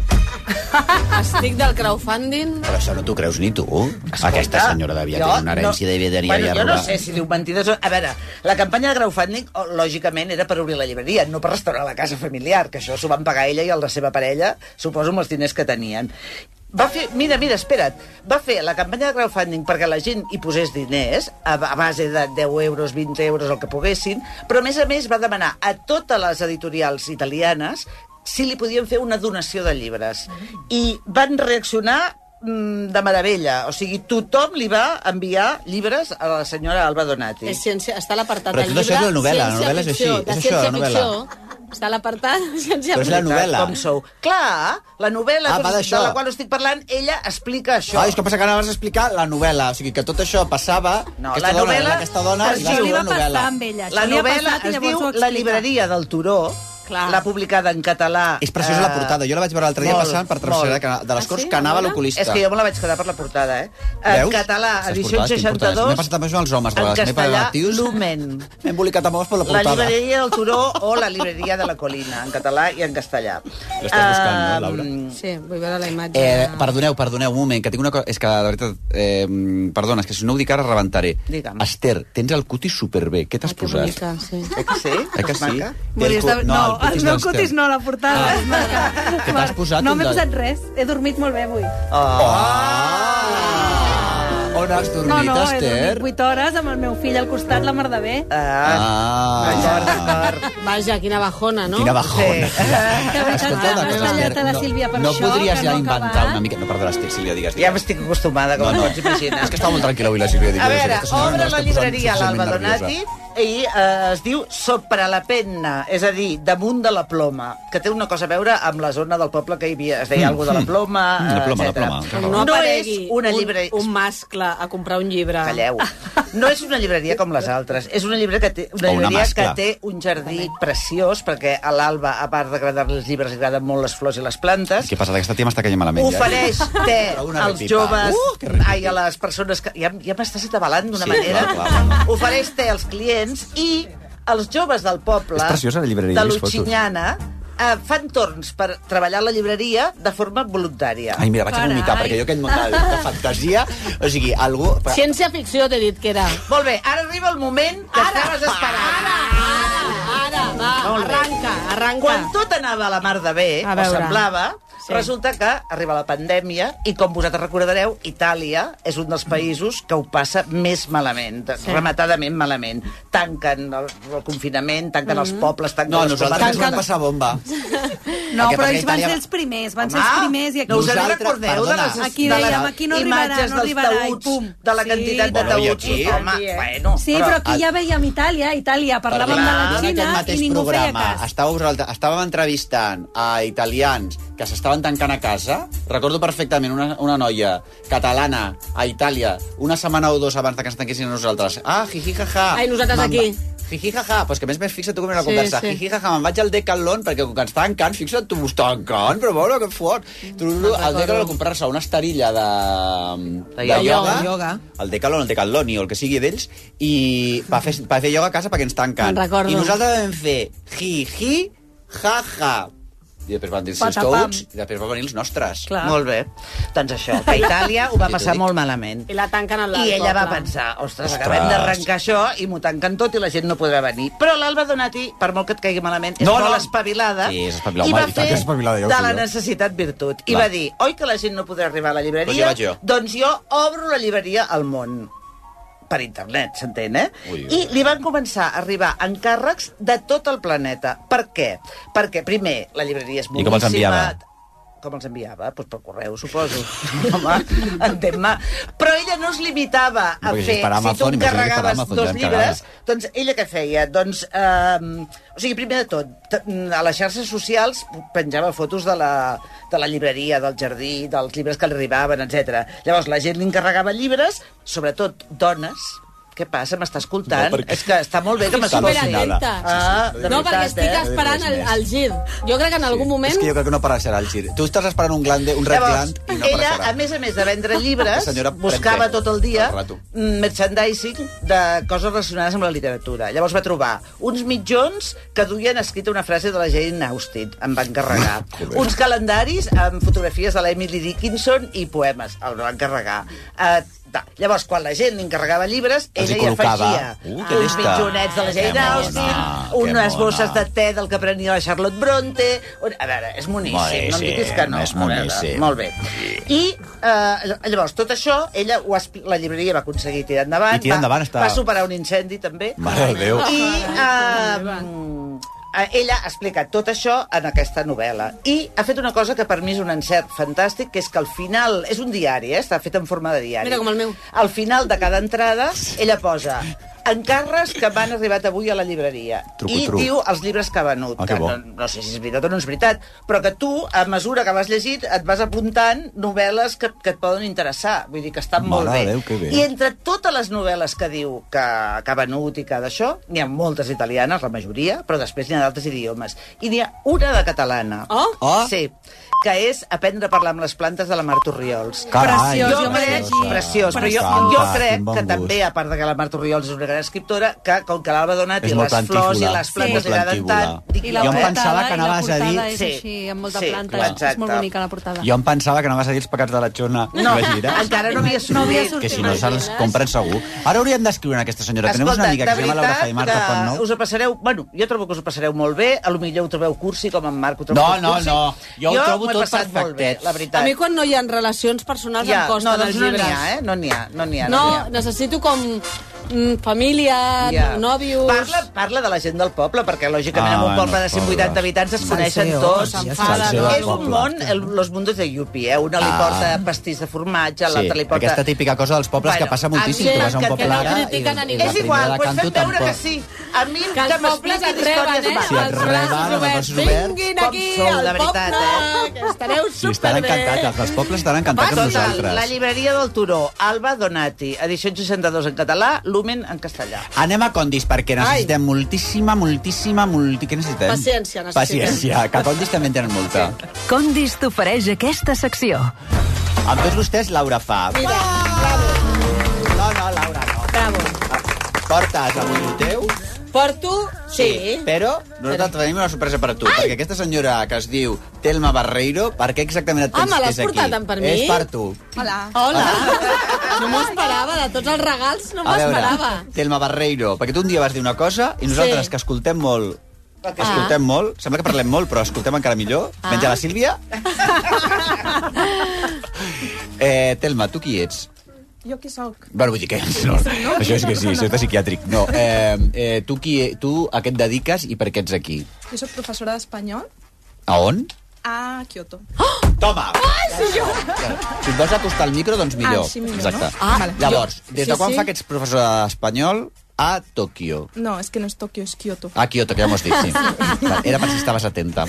eh? Estic del crowdfunding. Però això no t'ho creus ni tu. Aquesta senyora devia tenir una herència, devia tenir... bueno, ja jo no robar. sé si diu mentides o... A veure, la campanya de crowdfunding, o- lògicament, era per obrir la llibreria, no per restaurar la casa familiar, que això s'ho van pagar ella i el de la seva parella, suposo, amb els diners que tenien. Va fer, mira, mira, espera't. Va fer la campanya de crowdfunding perquè la gent hi posés diners, a, a base de 10 euros, 20 euros, el que poguessin, però a més a més va demanar a totes les editorials italianes si li podien fer una donació de llibres. I van reaccionar mm, de meravella. O sigui, tothom li va enviar llibres a la senyora Alba Donati. És ciència, està a l'apartat Però del tot llibre. això és la novel·la, la ciència novel·la és així, ficció, és de això, ciència la novel·la. ficció. Està a l'apartat de ciència Però és la ficció. novel·la. Com sou? Clar, la novel·la Ah, ah, va de d'això. la qual estic parlant, ella explica això. Ah, és que passa que anaves a explicar la novel·la. O sigui, que tot això passava... No, aquesta la dona, novel·la... Aquesta dona... i va escriure una novel·la. La novel·la es diu La llibreria del Turó, l'ha publicada en català... És preciosa la portada. Jo la vaig veure l'altre dia molt, passant per molt. tercera de, Ah, de les Corts, que anava a l'oculista. És que jo me la vaig quedar per la portada, eh? En Veus? català, Saps edició portades, quin portades. M'he 62, passat també als homes, de en les m'he passat castellà, als tios. Lumen. M'he embolicat amb homes per la La portada. llibreria del Turó o la llibreria de la Colina, en català i en castellà. L'estàs buscant, no, Laura? Sí, vull veure la imatge. Eh, perdoneu, perdoneu, un moment, que tinc una cosa... És que, de veritat, eh, perdona, és que si no ho dic ara rebentaré. Digue'm. Esther, tens el cutis superbé. Què t'has posat? Bonica, sí. Eh que sí? Eh que sí? Té Volies cu- de... No, no el meu d'Esther. cutis no, la portada. Ah. Que t'has posat no un m'he de- posat res, he dormit molt bé avui. On has dormit, no, no, he Esther? dormit 8 hores amb el meu fill al costat, la mar de bé. Ah. Vaja, quina bajona, no? Quina bajona. Sí. Escolta, una cosa, Esther, no, no podries ja inventar una mica... No, perdona, Esther, Sílvia, digues. Ja m'estic acostumada, com no, no. pots imaginar. És que estava molt tranquil·la avui la Sílvia. digues, A veure, aquesta senyora no obre la està llibreria posant l'Alba suficientment Donati nerviosa. i eh, es diu Sopra la penna, és a dir, damunt de la ploma, que té una cosa a veure amb la zona del poble que hi havia, es deia Mm, mm, alguna cosa de la mm. ploma, Mm, la ploma, la etcètera. ploma, No, No és aparegui una llibre... un, un mascle a comprar un llibre. Calleu. No és una llibreria com les altres, és una llibreria que té, una O una llibreria que mascla. té un jardí preciós, perquè a l'Alba, a part d'agradar-li els llibres, li agraden molt les flors i les plantes. Què passa? Aquesta tia m'està caient malament. ja. Ofereix té Però una als repipa. joves, Uh, uh, ai, a les persones que... Ja, ja m'estàs atabalant d'una Sí, manera. clar, clar. Ofereix té als clients i els joves del poble... És preciosa la llibreria, De he vist fotos. l'Utxinyana, eh, fan torns per treballar a la llibreria de forma voluntària. Ai, mira, vaig a vomitar, perquè jo aquest món de, de fantasia... O sigui, algú... Ciència ficció, t'he dit que era. Molt bé, ara arriba el moment que ara, estaves esperant. Ara, ara, va, Molt bé. arranca, arranca. Quan tot anava a la mar de bé, A o veure. semblava, Sí. sí. resulta que arriba la pandèmia i, com vosaltres recordareu, Itàlia és un dels països que ho passa més malament, Sí. sí. rematadament malament. Tanquen el, el confinament, tanquen mm -hmm. els pobles, tanquen No, les nosaltres comarques. ens vam passar bomba. No, Perquè però perquè ells van Itàlia- ser els primers, van ser Home, els primers i aquí... Ah, no us en recordeu de les- Aquí de les dèiem, aquí no arribarà, imatges no dels arribarà, i taüts, pum. de la quantitat de Bueno, i taüts, aquí? home, eh? bueno, Sí, però- però aquí ja veiem Itàlia, Itàlia, parlàvem de la en Xina aquest i mateix ningú feia programa cas. estàveu vosaltres- estàvem entrevistant a italians que s'estaven tancant a casa. Recordo perfectament una, una noia catalana a Itàlia una setmana o dos abans de que ens tanquessin a nosaltres. Ah, jiji, jaja. Ai, nosaltres Me'n aquí. va- Jiji, jaja. Però és que a més, a més fixa't tu com era la Sí, conversa. sí. Jiji, jaja, me'n vaig al Decathlon perquè com que ens tancant, fixa't tu, ens tancant, però bueno, que fort. Tu, al Decathlon a comprar-se una esterilla de, de, ioga, el Decathlon, el Decathloni o el que sigui d'ells, i va fer, va fer ioga a casa perquè ens tanquen. Me'n recordo. I nosaltres vam fer hi-hi, ha-ha. I després van dir els Patapam. touts, i després van venir els nostres. Clar. Molt bé. Doncs això, que Itàlia ho va passar molt malament. I la tanquen a l'altre. I ella va poble. pensar, ostres, Ostres. acabem d'arrencar això i m'ho tanquen tot i la gent no podrà venir. Però l'Alba Donati, per molt que et caigui malament, és No, no, molt no. espavilada Sí, és espavilada, i home, va i tant fer que és espavilada, ja ho de sé la jo. necessitat virtut. I Clar. va dir, oi que la gent no podrà arribar a la Doncs ja llibreria? vaig jo. Doncs jo obro la llibreria al món per internet, s'entén, eh? Ui, ui. I li van començar a arribar encàrrecs de tot el planeta. Per què? Perquè, primer, la llibreria és I boníssima... com els enviava? Com els enviava? pues, Doncs per correu, suposo. Home, entén-me. Però ella no es limitava a Perquè si fer... és per si tu Amazon, imagina't que per encarregaves Amazon ja dos em llibres, cagava. doncs ella què feia? Doncs, eh, o sigui, primer de tot, t- mm, a les xarxes socials penjava fotos de la, de la llibreria, del jardí, dels llibres que li arribaven, etc. Llavors, la gent li encarregava llibres, sobretot dones, què passa? M'està escoltant? No, perquè- És que està molt bé que Estic m'escolti. superatenta. Ah, de no, veritat, perquè estic eh? esperant el, el gir. Jo crec que en algun moment... És que jo crec que no apareixerà el gir. Tu estàs esperant un glande, un red Llavors, gland, i no ella, apareixerà. a més a més de vendre La llibres, senyora buscava Prenter, tot el dia al rato. mm, merchandising de coses relacionades amb la literatura. Llavors va trobar uns mitjons que duien escrita una frase de la Jane Austen, em van carregar. uns calendaris amb fotografies de l'Emily Dickinson i poemes, el van carregar. Eh, Ta. Llavors, quan la gent li encarregava llibres, Els hi ella hi col·locava. afegia Uh, que uns lista. mitjonets de la Jane Que mona, Austen, que unes mona. bosses de te del que prenia la Charlotte Bronte... un- A veure, és moníssim, no em diguis que no. és A veure, moníssim. Molt bé. I eh, llavors, tot això, ella ho es- la llibreria va aconseguir tirar endavant. I tirar endavant va, està- va superar un incendi, també. Mare de Déu. I eh, eh, ella ha explicat tot això en aquesta novel·la. I ha fet una cosa que per mi és un encert fantàstic, que és que al final... És un diari, eh? Està fet en forma de diari. Mira com el meu. Al final de cada entrada, ella posa encarres que m'han arribat avui a la llibreria. Truco, I truco. diu els llibres que ha venut. Ah, que bo. no, no sé si és veritat o no és veritat, però que tu, a mesura que vas llegit, et vas apuntant novel·les que, que et poden interessar. Vull dir que està molt Mare bé. de Déu, que bé. I entre totes les novel·les que diu que, que ha venut i que d'això, n'hi ha moltes italianes, la majoria, però després n'hi ha d'altres idiomes. I n'hi ha una de catalana. Oh? Oh. Sí que és Aprendre a parlar amb les plantes de la Mar Torriols. Carai, preciós, jo preciosa. crec, preciós, però jo, M'encanta, jo quin crec bon que gust. també, a part de que la Mar Torriols és una gran escriptora, que com que l'Alba Donat És i molt les flors i plantívola, les sí. plantes molt li agraden tant... plantívola. dic, I la Jo em portada, pensava que i la anaves a dir- portada és així, amb molta sí, planta. Exacte. És molt bonica, la portada. Jo em pensava que anaves a dir els pecats de la Xona. No, Imagina't. encara no havia sortit. No havia sortit. Que si no se'ls compren segur. Ara hauríem d'escriure en aquesta senyora. Tenim Escolta, una amiga que de es llama Laura veritat Faimarta que Font Nou. Us ho passareu... Bueno, jo trobo que us ho passareu molt bé, a lo millor ho trobeu cursi, com en Marc ho trobo No, tot no, cursi. no, jo ho trobo m'ho he tot passat molt bé, perfectet. la A veritat. mi quan no hi ha relacions personals ja, em costa no, doncs dels no llibres. n'hi ha, eh? No n'hi ha, no n'hi ha. No, n'hi ha. necessito com mm, família, Ja. yeah. nòvios... Parla, parla de la gent del poble, perquè lògicament Ah, en un poble de no, 180 pobre. habitants es Sí, coneixen sí, tots. home, ja està, sí, del és un poble. món, el, los mundos de Yupi, eh? Una li Ah. porta pastís de formatge, Sí, l'altra li porta... aquesta típica cosa dels pobles que passa moltíssim. Tu vas a un poble ara i, i la primera És igual, de doncs canto fem veure tampoc. que sí. A mi Que que, els pobles m'expliquin et reben, històries eh? eh? Si et reben, amb els braços oberts... Vinguin Com aquí, sou, de al veritat, poble, eh? que estareu Si estan superbé. doncs, encantats, els dels pobles estan encantats amb Total, la nosaltres. llibreria del Turó, Alba Donati, edició 62 en català, Lumen en castellà. Anem a Condis, perquè necessitem moltíssima, moltíssima, molti... Què necessitem? Paciència necessitem. Paciència, que a Condis també en tenen molta. Condis t'ofereix aquesta secció. Amb tots vostès, Laura Fa. Mira, No, no, Laura, no. bravo. Portes avui el teu, Porto... Sí. però nosaltres tenim una sorpresa per a tu, Ai! perquè aquesta senyora que es diu Telma Barreiro, per què exactament et Ah, tens me que l'has és aquí? portat en per mi? És per tu. Hola. Hola. No m'ho esperava, de tots els regals no m'ho a veure, esperava. Telma Barreiro, perquè tu un dia vas dir una cosa i nosaltres, Sí. que escoltem molt, Ah. escoltem Ah. molt, sembla que parlem molt, però escoltem encara millor, ah. menys a la Sílvia. eh, Telma, tu qui ets? Jo qui sóc? Bueno, vull dir que... No, això és que sí, això és de psiquiàtric. No, eh, eh, tu, qui, tu a què et dediques i per què ets aquí? Jo sóc professora d'espanyol A on? a Kyoto. Toma! Ah, sí, jo! Si et vols acostar al micro, doncs millor. Ah, sí, millor, Exacte. no? Ah, vale. Llavors, Jo- des sí, de quan sí. fa que ets professor d'espanyol a Tòquio? No, és que no és Tòquio, és Kyoto. A Kyoto, Ah, que ja m'ho has dit, sí. Vale, Era per si estaves atenta.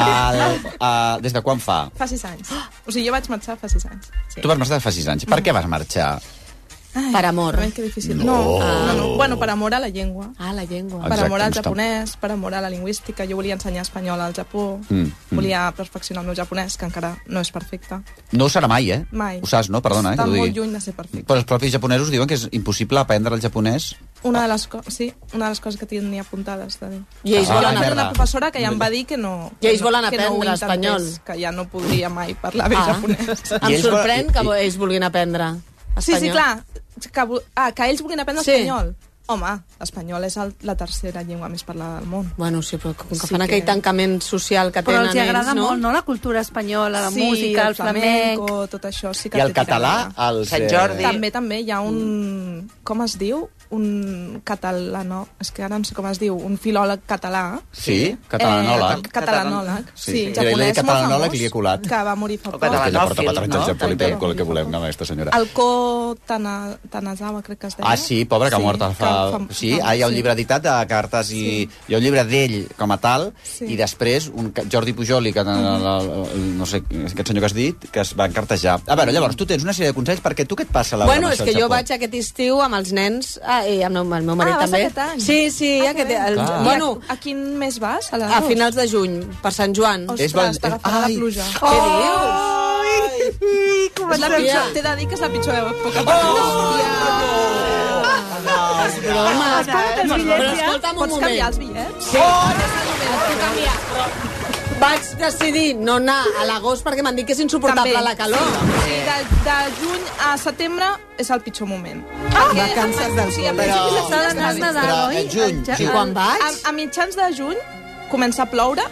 Al, a, des de quan fa? Fa sis anys. O sigui, jo vaig marxar fa sis anys. Sí. Tu vas marxar fa sis anys. Per què vas marxar? Ai, Per amor. Ai, que difícil. No. No, no, no. Bueno, per amor a la llengua. Ah, la llengua. per amor al no està- japonès, per amor a la lingüística. Jo volia ensenyar espanyol al Japó, Mm, mm. volia perfeccionar el meu japonès, que encara no és perfecte. No ho serà mai, eh? Mai. Ho saps, no? Perdona, eh, que Està t'ho molt digui. lluny de ser perfecte. Però els propis japonesos diuen que és impossible aprendre el japonès Una de les, co sí, una de les coses que tenia apuntades. De dir. I ells Ah, volen Tenia merda. una professora que ja em va dir que no... I ells que no- volen que no ho aprendre intentés, espanyol. Que ja no podria mai parlar bé Ah. japonès. Em ells sorprèn volen- que i- vo- ells vulguin aprendre espanyol. Sí, sí, clar. Que, vo- ah, que ells vulguin aprendre Sí. espanyol. Home, l'espanyol és el, la tercera llengua més parlada del món. Bueno, sí, però com que Sí fan que- aquell tancament social que Però tenen els hi agrada ells, no? molt, no?, la cultura espanyola, la sí, música, el flamenc... flamenco, tot això. Sí que i el té català... tirada. Els, Sant Jordi. Eh, També, també, hi ha un... Com es diu? Un català, no? És que ara no sé com es diu. Un filòleg català. Sí, catalanòleg. Eh, catalanòleg, Sí, sí. sí. sí. Japonès, Jo li he dit molt catalanòleg famós, i li he colat. Que va morir fa O poc. que ella porta catalanòfil, patrons al no? Japó i També. el que volem, no, aquesta senyora. El Ko Tana, Tanazawa, crec que es deia. Ah, sí, pobre, que ha mort que fa... fam- Sí, famós, ah, hi ha un sí. llibre editat de cartes i... Hi ha un llibre d'ell com a tal, Sí. i després un ca- Jordi Pujol i que, no sé, aquest senyor que has dit, que es va encartejar. A veure, llavors, tu tens una sèrie de consells perquè tu què et passa, Laura? Bueno, amb és això que del jo Japó? vaig aquest estiu amb els nens ah, i amb el meu marit Ah, vas també. aquest any? Sí, sí, Ah, que aquest, bé. el, Clar. bueno, I a, a quin mes vas? A, a finals de juny, per Sant Joan. Ostres, És val- t'ha agafat és- la ai. pluja. Oh! Què dius? Ai, és la pitjor, t'he de dir que és la pitjor època. Oh, És broma. Espera't, els bitllets Però ja. escolta'm eh, un Pots canviar moment. els bitllets? Sí. Oh, ja està el moment, els puc canviar, però... Vaig decidir no anar a l'agost perquè m'han dit que és insuportable També. la calor. Sí, de, de juny a setembre és el pitjor moment. Ah, Perquè vacances a- del sí, a col. principis Però- de setembre Però estàs nedant, en oi? juny, Ja- juny. Quan vaig? A, a mitjans de juny comença a ploure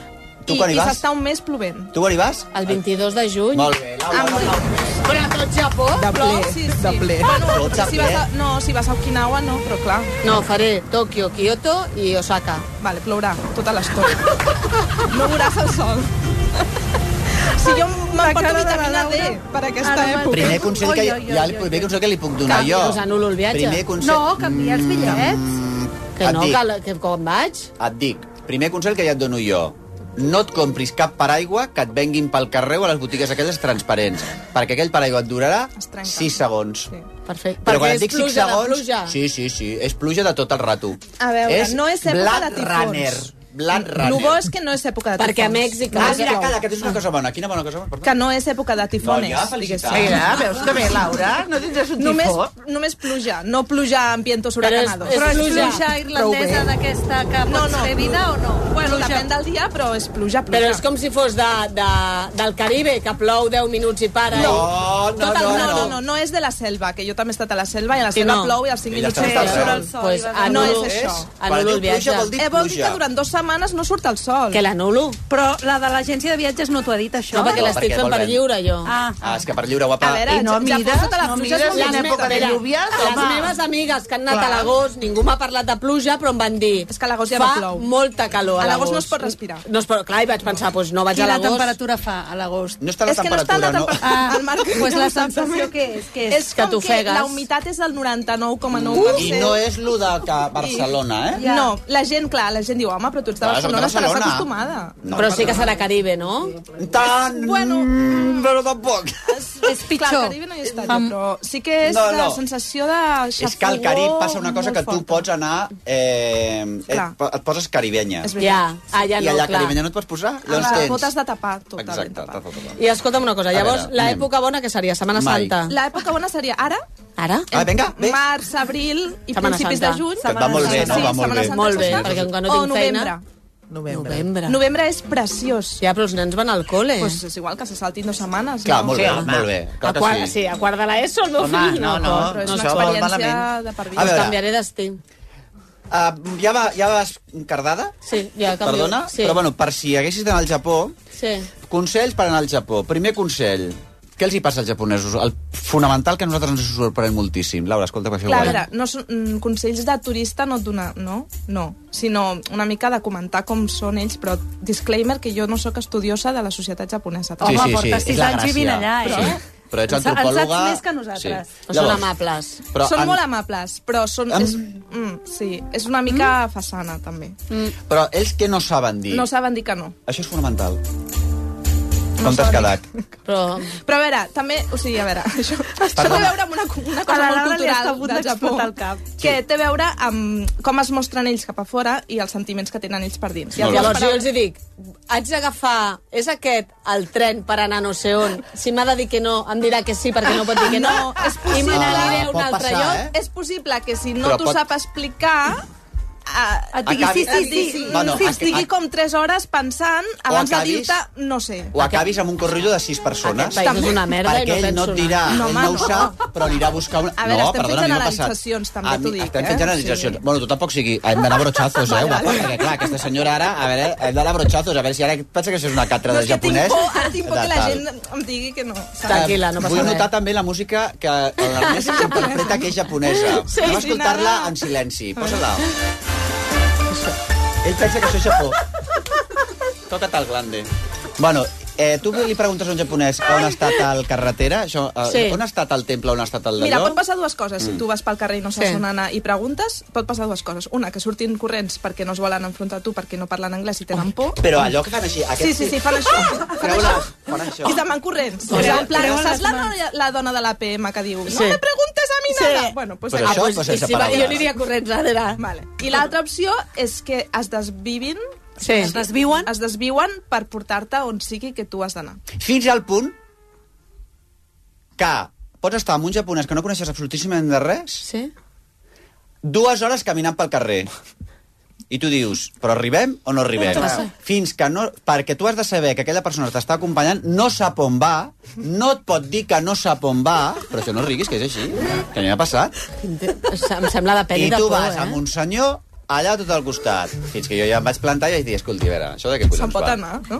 Tu i, quan hi i vas? s'està un mes plovent. Tu quan hi vas? El 22 de juny. Molt bé, Laura. Però a tot Japó? De plou? ple, Sí, de sí. ple. eh? Bueno, Tot de si vas ple. a- Ah, no, si vas a Okinawa no, però clar. No, faré Tòquio, Kyoto i Osaka. Vale, plourà tota l'estona. No veuràs el sol. Si jo m'emporto vitamina D per aquesta Ara època. Primer consell Oi, que, hi, oi, hi ha el primer consell que li puc donar Canvi, jo. us anul·lo el viatge. Primer Mm. consell... No, canvia els bitllets. Que et no, dic, que, la- que quan vaig... Et dic, primer consell que ja et dono jo. No et compris cap paraigua que et venguin pel carrer o a les botigues aquelles transparents, perquè aquell paraigua et durarà 6 segons. Sí. Perfecte. Però Perquè quan és et dic 6 pluja de segons... pluja. Sí, sí, sí, és pluja de tot el rato. A veure, és no és època Blade de tifons. Runner. Blade El Runner. bo és que no és època de tifons. Perquè a Mèxic Ah, mira, calla, que tens una cosa bona. Quina bona cosa bona? Que no és època de tifones. No, ja, felicitats. diguéssim. Mira, veus que bé, Laura? No tindràs un tifó? Només, només pluja, no pluja ambientos huracanados. Però és pluja irlandesa d'aquesta que No, pots no. fer vida o no? Bueno, depèn del dia, però és pluja, pluja. Però és com si fos de, de, del Caribe, que plou 10 minuts i para. eh? No, Oh, i... Tot el- no, no, no, no és de la selva, que jo també he estat a la selva i a la Sí, selva no. plou i als 5 Ella minuts està sí, al surt sol. el sol. Pues i vas a- no anul·lo- és això. és- anul·lo el pluja viatge. vol dir Eh, vol dir pluja. que durant dues setmanes no surt el sol. Que l'anulo? Però la de l'agència de viatges no t'ho ha dit, això? No, perquè No, l'estic perquè fent per volem. lliure, jo. Ah, Ah, és que per lliure, guapa. A veure, I no, ja- ja mires, pots totes les no pluges mires, molt en netes. època de Mira, lluvias, les home. meves amigues que han anat Clar. a l'agost, ningú m'ha parlat de pluja, però em van dir... És que a l'agost ja fa no plou." molta calor a A l'agost. l'agost no es pot respirar. No es pot... Clar, i vaig pensar, doncs no vaig a Quina l'agost. temperatura fa a l'agost? No està la és que no està la temperatura, no? doncs temperatura. Ah, el Marc, pues no la ho sap sensació també. que és, que és. És que com t'ofegues. la humitat és del 99,9%. I no és lo de que Barcelona, eh? Ja. No, la gent, clar, la gent diu, home, però tu ets de Clar, Barcelona, soc de estaràs Barcelona. acostumada. No, Però sí que serà Caribe, no? Tant, Bueno, però tampoc. És Clar, pitjor. el Caribe no hi he estat, jo, però sí que és No, no, no. la no. sensació de xafogó... És que al Carib passa una cosa molt que tu forta. pots anar... Eh, et, Clar. po- et poses caribenya. És veritat. Ja, allà I no, allà clar. caribenya no et pots posar? Ah, Llavors clar, tens... T'ho has de tapar, totalment Exacte, tapat. t'has de tapar. I escolta'm una cosa, A llavors, veure, anem. l'època bona que seria? Setmana Mai. Santa. L'època bona seria ara, Ara? Ah, vinga, bé. març, abril i Setmana principis Santa. de juny. Que et va molt bé, no? Sí, Va molt Setmana bé. Santa Molt bé, s'està. perquè encara no O tinc feina. novembre. Novembre. Novembre. Novembre. és preciós. Ja, però els nens van al col·le. Pues és igual que se saltin dues setmanes. Clar, no? molt bé, molt bé. Clar a quart, que sí. sí, a quart de l'ESO, el meu Home, fill. no, no. Però és No una se vol experiència malament. de per A vida. veure. Canviaré d'estiu. Uh, ja, va, ja vas cardada? Sí, ja canvio. Perdona? Sí. Però bueno, per si haguessis d'anar al Japó... Sí. Consells per anar al Japó. Primer consell. Què els hi passa als japonesos? El fonamental que a nosaltres ens sorprèn moltíssim. Laura, escolta, que això Clar, a guai. veure, no són, mm, consells de turista no et dona, no? No, sinó una mica de comentar com són ells, però disclaimer que jo no sóc estudiosa de la societat japonesa. Sí, tampoc. sí, Home, sí, portes és sis la anys gràcia. vivint allà, eh? Sí. Però ets En sa- en saps antropòloga... més que nosaltres. No són amables. Però són en- molt amables, però són... Em- És, mm, sí, és una Mm. mica façana, també. Però ells què no saben dir? No saben dir que no. Això és fonamental. Com t'has quedat? Però... Però a veure, també... O sigui, a veure, això, això té a Perdona. veure amb una, co- una A cosa la molt Laura li cultural està a punt del Japó. d'explotar el cap. Que té a veure amb com es mostren ells cap a fora i els sentiments que tenen ells per dins. I Molt bé. Llavors jo els hi dic, haig d'agafar, és aquest el tren per anar no sé on? Si m'ha de dir que no, em dirà que sí perquè no pot dir que no. No, és I me possible. n'aniré a un Pot altre passar, lloc. eh? És possible que si no Però t'ho pot- sap explicar... A, Et digui sí, sí, sí. Bueno, Bueno, a- si estigui a- com 3 hores pensant O abans de acabis- dir-te, no sé. O acabis amb un corrillo de sis persones? Aquest país és una merda i Perquè no ell no penso et dirà, no, ell No, home, no ho no. sap, però anirà a buscar... Una... A veure, no, estem fent perdona, a mi m'ha passat. generalitzacions, A també mi- t'ho dic, Estem eh? fent generalitzacions. Sí. Bueno, tu tampoc sigui... Hem d'anar a brochazos, eh, guapa? Perquè, clar, aquesta senyora ara... A veure, hem d'anar a brochazos. A veure si ara pensa que això és una càtedra de No, és que tinc japonès. por, ara tinc por que la Tal. gent em digui que no. saps? Tranquil·la, no passa Vull res. notar també la música que l'Ernest interpreta que és japonesa. Sí, Anem a sí, escoltar-la nada. en silenci. Posa-la. Ell pensa que això és Japó. Toca't el glande. Bueno, eh, tu li preguntes a un japonès on ha estat el carretera, això, eh, Sí. on ha estat el temple, on ha estat el Mira, d'allò... pot passar dues coses. Mm. Si tu vas pel carrer i no saps Sí. on anar i preguntes, pot passar dues coses. Una, que surtin corrents perquè no es volen enfrontar a tu, perquè no parlen anglès i tenen por. Però allò que fan així... Sí, Aquest... sí, sí, fan això. Fan Treu-la, això. fan això. I se'n van corrents. Treuen- O sigui, en plan, treuen saps les la, noia- la dona de l'APM que diu Sí. no me preguntes a mi nada? Sí. Bueno, pues Però ah, això, pues- però sense I si va, jo paraules. aniria corrents darrere. Vale. I l'altra opció és que es desvivin Sí. Es desviuen. es desviuen per portar-te on sigui que tu has d'anar. Fins al punt que pots estar amb un japonès que no coneixes absolutíssimament de res, Sí? dues hores caminant pel carrer. i tu dius, però arribem o no arribem? Clar. Fins que no... Perquè tu has de saber que aquella persona que t'està acompanyant, no sap on va, no et pot dir que no sap on va, però això no riguis, que és així, que a mi m'ha passat. Em sembla de pel·li I de tu por, vas eh? amb un senyor allà tot al costat. Fins que jo ja em vaig plantar i vaig dir, escolti, a veure, això de què collons pot va? anar,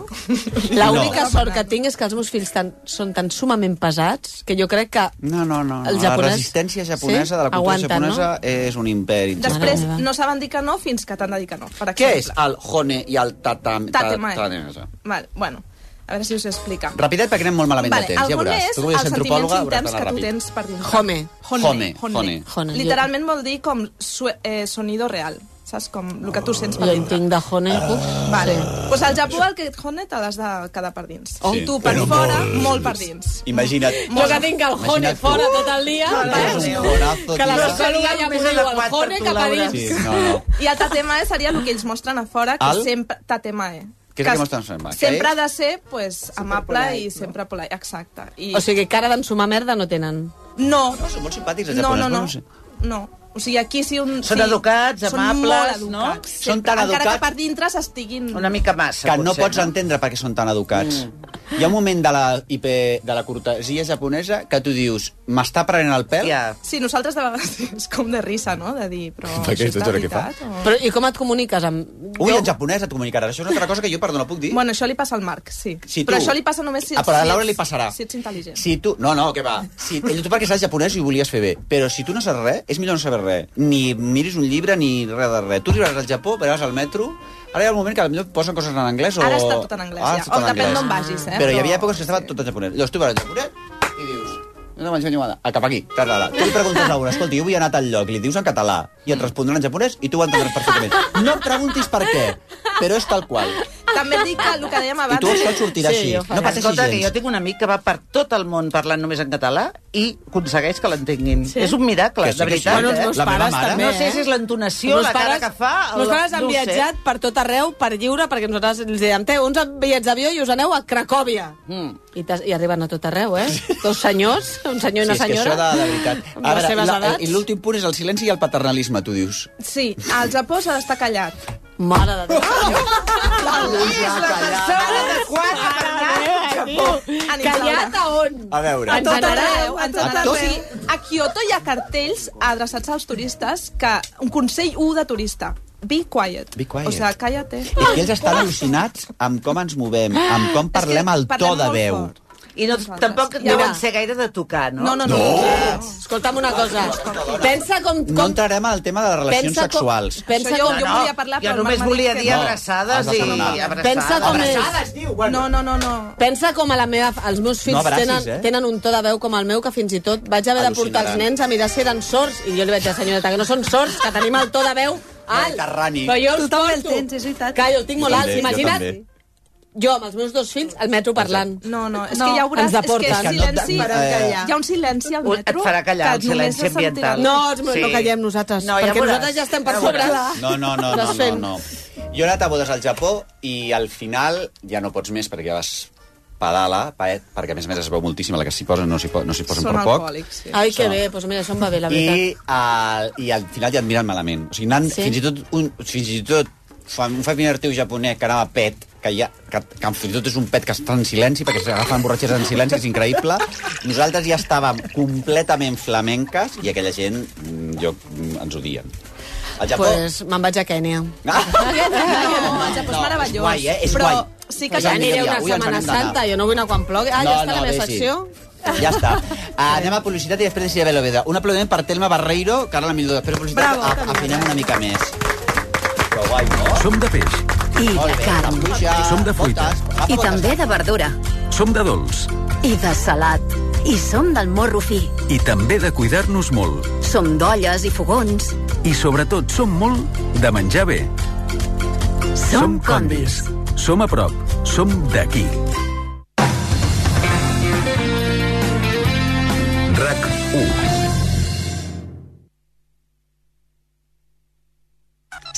L'única No. sort que tinc és que els meus fills tan, són tan sumament pesats que jo crec que no, no, no, el La japonès... resistència japonesa de la cultura Aguanten, japonesa és un imperi. Després no saben dir que no fins que t'han de dir que no. Per Què exemple. és el hone i el tatam... ta- Tatemae. tatamesa? Val, bueno, a veure si us explica. Rapidet, perquè anem molt malament vale, de temps, ja el veuràs. és tu que els ets sentiments antropòloga, hauràs interns que d'anar tu ràpid. tens per dintre. Home. Hone, Honne. hone. Hone, jo- Literalment vol dir com su eh, sonido real, saps? Com el que tu sents per Jo en dintre. tinc de Hone. Uf, Ah, Vale. Pues al Japó el que et hone te l'has de quedar per dins. Oh. tu per Però fora, molt. molt, per dins. Imagina't... Jo que tinc el Hone Imagina't tu. fora tot el dia, És un vale? conazo, que la tio. psicòloga ja m'ho diu, el Hone cap a dins. Sí, no, no. I el tatemae seria el que ells mostren a fora, que El? sempre... Tatemae. Què és el que mostren a fora, que Sempre és? ha de ser pues, amable i sempre polite. Exacte. I... O sigui, cara d'ensumar merda no tenen. No. No, són molt simpàtics, els No, japonesos. no, no. no sé. No. O sigui, aquí sí... Un, Són sí, educats, amables, són no? molt educats, Són sempre. tan Encara educats- que per dintre s'estiguin... Una mica massa, que no potser, pots entendre per què són tan educats. Mm. Hi ha un moment de la, IP, de la cortesia japonesa que tu dius, m'està prenent el pèl? Yeah. Sí, nosaltres de vegades és com de risa, no?, de dir, però... Per què, això és tot de ara què fa? veritat, o... Però i com et comuniques amb... Ui, en japonès et comunicaràs. Això és una altra cosa que jo, perdó, no puc dir. Bueno, això li passa al Marc, sí. Si però tu- això li passa només si, Ah, però a la si Laura ets- li passarà. Si ets intel·ligent. Si tu... No, no, què va. Si, ell, tu perquè saps japonès i ho volies fer bé. Però si tu no saps res, és millor no saber res. Ni miris un llibre ni res de res. Tu arribaràs al Japó, veràs al metro... Ara hi ha el moment que potser posen coses en anglès o... Ara està tot en anglès, ja. està tot O en depèn anglès. d'on vagis, Però eh, hi però- havia èpoques que estava tot en japonès. Llavors tu vas al japonès i dius... No m'ensenyo nada. Ah, cap aquí. Ta, ta, ta. Tu li preguntes a un, escolta, jo vull anar a tal lloc, li dius en català, i et respondran en japonès i tu ho entendràs perfectament. No em preguntis per què, però és tal qual. També et dic que el que dèiem Ah, abans... tu això et sortirà Sí, així. jo faré. No pateixis Escolta, gens. que jo tinc un amic que va per tot el món parlant només en català i aconsegueix que l'entenguin. Sí? És un miracle, Que sí, de que sí. veritat. Bueno, els eh? meus La meva pares mare. també, No sé eh? si és l'entonació, Els la meus cara pares- que fa... Els meus pares han viatjat per tot arreu, per lliure, perquè nosaltres els dèiem, teu, uns bitllets d'avió i us aneu a Cracòvia. Mm. I, t'has- I arriben a tot arreu, eh? Dos senyors, un senyor i una sí, és que senyora. això de, de veritat. Amb les seves la- edats. I l'últim punt és el silenci i el paternalisme, tu dius. Sí, al Japó s'ha d'estar callat. Mare de Déu. Callat a on? A veure. A tot arreu, A a tot arreu. O sigui, a Kyoto hi ha cartells adreçats als turistes que... Un consell 1 de turista. Be quiet. Be quiet. O sigui, calla-te. És que ells estan al·lucinats amb com ens movem, amb com parlem el to parlem de molt veu. I no, tampoc Ja va. deuen ser gaire de tocar, no? No, no, no. Escolta'm una cosa. Pensa com... No com... entrarem al tema de les relacions Pensa com- sexuals. pensa Això jo- com- jo volia parlar, però el jo Marc només m'ha volia dit que dir no. abraçades Has de i... perdonar. abraçades. Pensa com és. Abraçades, diu, bueno. No, no, no, no. Pensa com a la meva, els meus fills No abracis, tenen, eh? tenen un to de veu com el meu que fins i tot vaig haver de portar els Al·lucinaran. nens a mirar si eren sords i jo li vaig dir, senyoreta, que no són sords, que tenim el to de veu alt. Mediterrani. Però jo els també el porto. tens, és veritat. Que jo el tinc molt alt. també, jo Imagina't també. jo amb els meus dos fills al metro parlant. No, no, és No, que ja ho veuràs, ens és que deporten. és silenci, Farà callar. hi ha un silenci al Un- metro... et farà callar, que un silenci només se sentirà- ambiental. No, els meus Sí. no callem nosaltres, No, ja perquè veuràs. nosaltres ja estem per Ja sobre. veuràs. No, no, no, no, no, Desfent. no. Jo he anat a bodes al Japó i al final ja no pots més perquè ja vas pedala, paet, perquè a més a més es veu moltíssim, a la que s'hi posen no s'hi po no s'hi posen Són per poc. alcohòlics, sí. Ai, que Això. bé, doncs mira, això em va bé, la veritat. I, al, i al final ja et miren malament. O sigui, anant, Sí? sí? fins i tot un, fins i tot fa- un familiar teu japonès que anava pet, que, ja, que, que fins i tot és un pet que està en silenci, perquè s'agafen borratxes en silenci, és increïble. Nosaltres ja estàvem completament flamenques i aquella gent, mm, jo, mm, ens odien. Al Japó... Pues me'n vaig a Kènia. Ah! No, el Japó és meravellós. és guai, eh? És però guai. sí que Que ja aniré una Avui ens Setmana havíem d'anar. Santa, jo no vull anar quan plogui. Ah, ja està la meva bé, sí. secció? Ja està. Uh, anem a publicitat i després decidirem l'Oveda. Un aplaudiment per Telma Barreiro, que ara la millor després de publicitat a, afinem una mica més. Però guai, no? Som de peix, I Molt de bé, carn. caputxa, som de fruita, botes, I també de verdura. som de dolç I de salat. I som del morro fi. i també de cuidar-nos molt. Som d'olles i fogons. I sobretot som molt de menjar bé. Som condis. Som a prop, som d'aquí. RAC 1.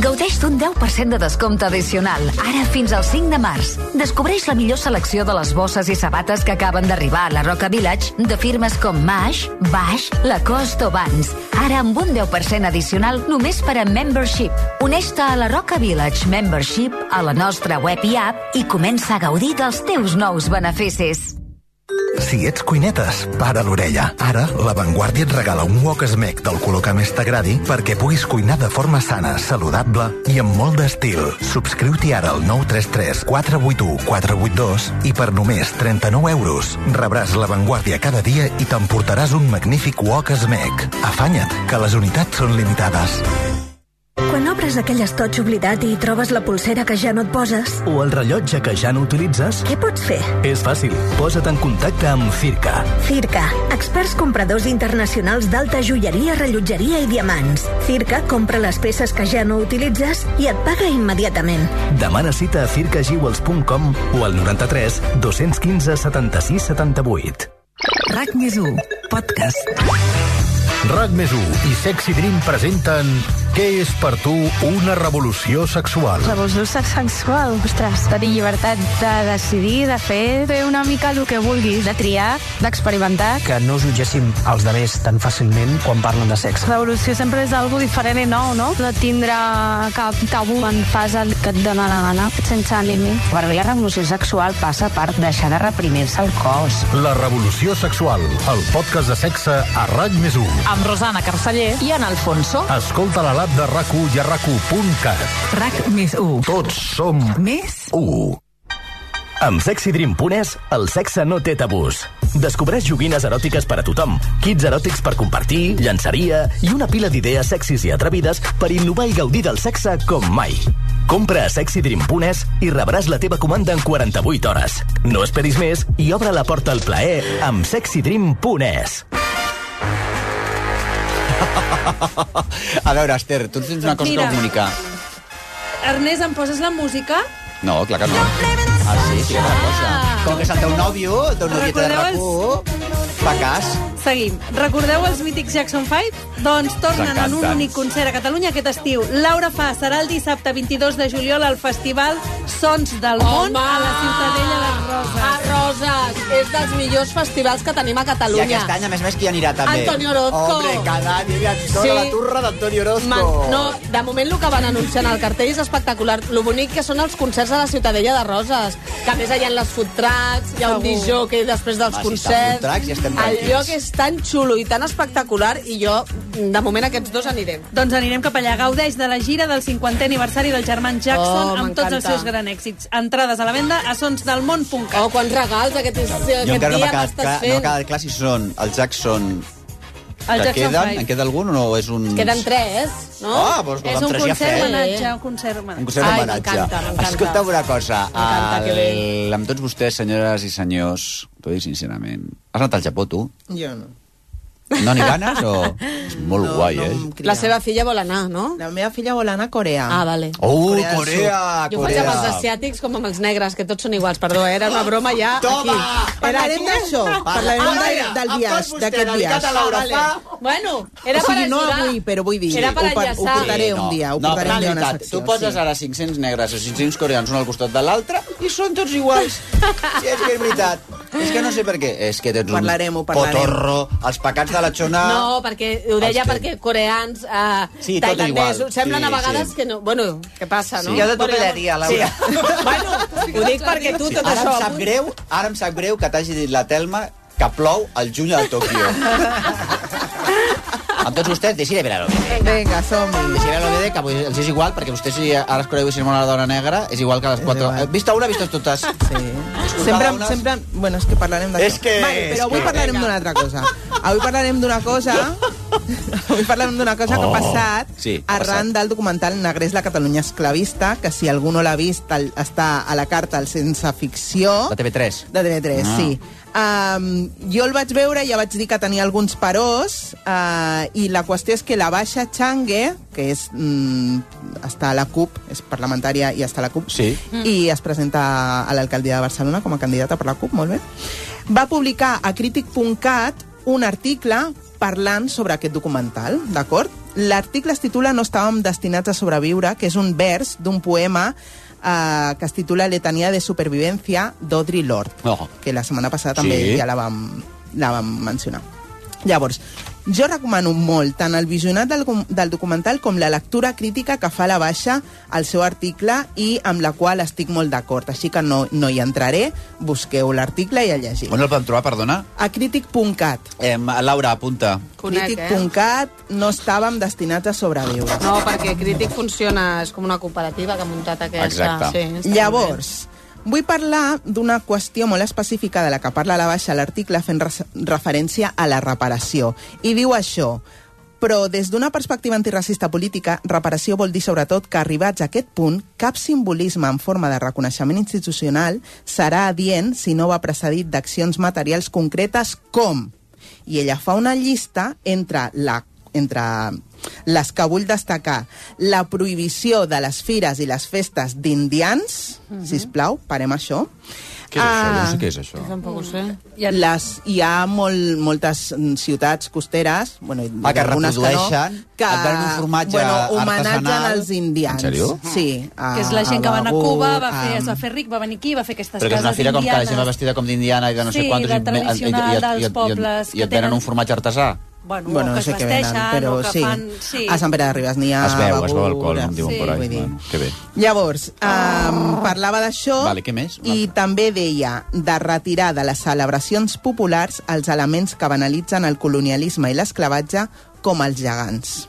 Gaudeix d'un 10% de descompte addicional, ara fins al 5 de març. Descobreix la millor selecció de les bosses i sabates que acaben d'arribar a la Roca Village de firmes com Mash, Baix, Lacoste o Vans. Ara amb un 10% addicional només per a Membership. Uneix-te a la Roca Village Membership a la nostra web i app i comença a gaudir dels teus nous beneficis. Si ets cuinetes, para l'orella. Ara, La Vanguardia et regala un wok esmec del color que més t'agradi perquè puguis cuinar de forma sana, saludable i amb molt d'estil. Subscriu-t'hi ara al 933 481 482 i per només 39 euros rebràs La Vanguardia cada dia i t'emportaràs un magnífic wok esmec. Afanya't, que les unitats són limitades. Quan obres aquell estoig oblidat i hi trobes la pulsera que ja no et poses, o el rellotge que ja no utilitzes? què pots fer? És fàcil. Posa't en contacte amb Circa. Circa, experts compradors internacionals d'alta joieria, rellotgeria i diamants. Circa compra les peces que ja no utilitzes i et paga immediatament. Demana cita a circajewels.com o al 93 215 76 78. RAC més 1, podcast. RAC més 1 i Sexy Dream presenten Què és per tu una revolució sexual? Revolució sexual, ostres, tenir llibertat de decidir, de fer, fer una mica el que vulguis, de triar, d'experimentar. que no jutgéssim els demés tan fàcilment quan parlen de sexe. L'evolució sempre és algo diferent i nou, no? De tindre cap tabú en fas el que et dona la gana, sense límit. Per mi la revolució sexual passa per deixar de reprimir-se el cos. La revolució sexual, el podcast de sexe a RAC més 1. Amb Rosana Carceller i en Alfonso. Escolta la lab de RAC1 i a RAC1.cat. RAC més 1. Tots som més 1. Amb Sexy Dream Punes, el sexe no té tabús. Descobreix joguines eròtiques per a tothom, kits eròtics per compartir, llançaria i una pila d'idees sexis i atrevides per innovar i gaudir del sexe com mai. Compra a Sexy Dream Punes i rebràs la teva comanda en 48 hores. No esperis més i obre la porta al plaer amb Sexy Dream Punes. A veure, Esther, tu tens una cosa Mira. que comunicar. Ernest, em poses la música? Ah, No, clar que no. Ah, sí, sí, que una cosa. Com que és el teu nòvio, el teu nòvio de Recordeu els- RAC1, fa cas. Seguim. Recordeu els mítics Jackson 5? Doncs tornen en un encanten. únic concert a Catalunya aquest estiu. Laura Fa serà el dissabte 22 de juliol al festival Sons del Món a la Ciutadella de Roses. A Roses. És dels millors festivals que tenim a I Catalunya. aquest any, a més a més, qui anirà també? Antonio Orozco. Hombre, cada any hi ha tota Sí. la turra d'Antonio Orozco. Man, no, de moment el que van anunciar en el cartell és espectacular. Lo bonic que són els concerts a la Ciutadella de Roses, que a més hi ha les food trucks, hi ha un Segur. dijó que després dels Va, si Ah, està concerts... food trucks, ja estem el tranquils. lloc és tan xulo i tan espectacular i jo, de moment, aquests dos anirem. Doncs anirem cap allà. Gaudeix de la gira del 50è aniversari del germà Jackson Oh, amb tots els m'encanta. seus grans èxits. Entrades a la venda a sonsdelmón.cat. Oh, quants regals aquest, és, Jo aquest encara no dia m'ha que quedat, estàs clar, no m'ha fent. quedat clar si són el Jackson El que Jackson queden, Five. en queda algun o no? És un... Queden tres, no? Ah, doncs és un l'altre ja concert fet. homenatge, un concert homenatge. Un concert Ai, d'homenatge. m'encanta, m'encanta. Escolta'm una cosa. M'encanta, que bé. El... Amb tots vostès, senyores i senyors, t'ho dic sincerament. Has anat al Japó, tu? Jo no. No n'hi ganes o...? És molt no, guai, no, eh? La seva filla vol anar, no? La meva filla vol anar a Corea. Ah, vale. Oh, Corea del Corea, Sud. Jo faig amb els asiàtics com amb els negres, que tots són iguals, perdó, eh? era una broma ja Toma! aquí. Era Parlarem aquí. d'això, parlarem Ah, del- vale. del Em viatge, fas vostè d'aquest dedicat viatge. a Laura Ah, vale. Fa. Bueno, era o sigui, per no ajudar. avui, però vull dir, Era per ho, par- ho enllaçar. portaré un dia, ho no, portaré però un dia a en una realitat, secció. tu poses sí. ara 500 negres o 500 coreans un al costat de l'altre i són tots iguals. Sí, és que és veritat. És que no sé per què. És que tens Parlarem, ho un parlarem. potorro, els pecats de la xona... No, perquè ho deia Els té. perquè coreans, eh, Sí, tot tailandesos, igual. semblen Sí, a vegades sí. que no... Bueno, què passa, no? Sí. Jo de Bueno, topeleria, Laura. Sí. bueno, ho dic perquè tu tot ara això... Em sap greu, ara em sap greu que t'hagi dit la Telma que plou al juny a Tòquio. Amb tots vostès, deixi de mirar-ho. Vinga, som-hi. Deixi de mirar-ho bé, que avui els és igual, perquè vostès si ara es creu si una dona negra, és igual que les quatre... Eh, Vista una, vistes totes. Sí. Sempre, sempre... Bueno, és que parlarem d'això. És que- Vale, és però avui que- parlarem d'una altra cosa. Avui parlarem d'una cosa Avui parlem d'una cosa que Oh. ha passat Sí, ha arran passat. del documental Negrés la Catalunya esclavista, que si algú no l'ha vist el, està a la carta al Sense Ficció. De TV3. De TV3, Ah. sí. Um, jo el vaig veure, ja vaig dir que tenia alguns parors, uh, i la qüestió és que la Baixa Changue, que és, mm, està a la CUP, és parlamentària i està a la CUP, Sí. i es presenta a l'alcaldia de Barcelona com a candidata per la CUP, molt bé, va publicar a crític.cat un article parlant sobre aquest documental, d'acord? L'article es titula No estàvem destinats a sobreviure, que és un vers d'un poema eh, que es titula Letania de supervivència d'Audre Lorde Oh. que la setmana passada també Sí. ja la vam, la vam mencionar. Llavors, jo recomano molt tant el visionat del, com- del documental com la lectura crítica que fa la baixa al seu article i amb la qual estic molt d'acord. Així que no, no hi entraré, busqueu l'article i el llegiu. On el podem trobar, perdona? A crític.cat. Eh, Laura, apunta. Conec, eh? Crític.cat no estàvem destinats a sobreviure. No, perquè Crític funciona, és com una cooperativa que ha muntat aquesta. Sí, Llavors, vull parlar d'una qüestió molt específica de la que parla la baixa a l'article fent res- referència a la reparació. I diu això, però des d'una perspectiva antiracista política, reparació vol dir sobretot que arribats a aquest punt, cap simbolisme en forma de reconeixement institucional serà adient si no va precedit d'accions materials concretes com... I ella fa una llista entre la entre les que vull destacar la prohibició de les fires i les festes d'indians Mhm. uh -huh. sisplau, parem això Ah, Què és això? Jo no sé què és això. Tampoc ho sé. les, hi ha molt, moltes mm, ciutats costeres bueno, i Ah, que algunes reprodueixen, que, et donen un formatge bueno, homenatgen artesanal. als indians En sèrio? Sí, ah, a, que és la gent que va anar a Cuba, va fer, a- es va fer ric, va venir aquí, va fer aquestes Ah, Però que és una cases fira com que la gent va indianes. vestida com d'Indiana i de no sé Sí, quantos... la i et- i et- i et- tradicional i et- dels i et- pobles I que et venen tenen- un formatge artesà. Bueno, o bueno, no que sé es què venen, vesteixen, però o que sí. fan... Sí. A Sant Pere de Ribes n'hi ha... es veu, es veu beguda, alcohol, em diuen sí. por ahí. Vull dir. Bueno, que bé. Llavors, um, parlava d'això Vale, què més? Una i també deia de retirar de les celebracions populars els elements que banalitzen el colonialisme i l'esclavatge com els gegants.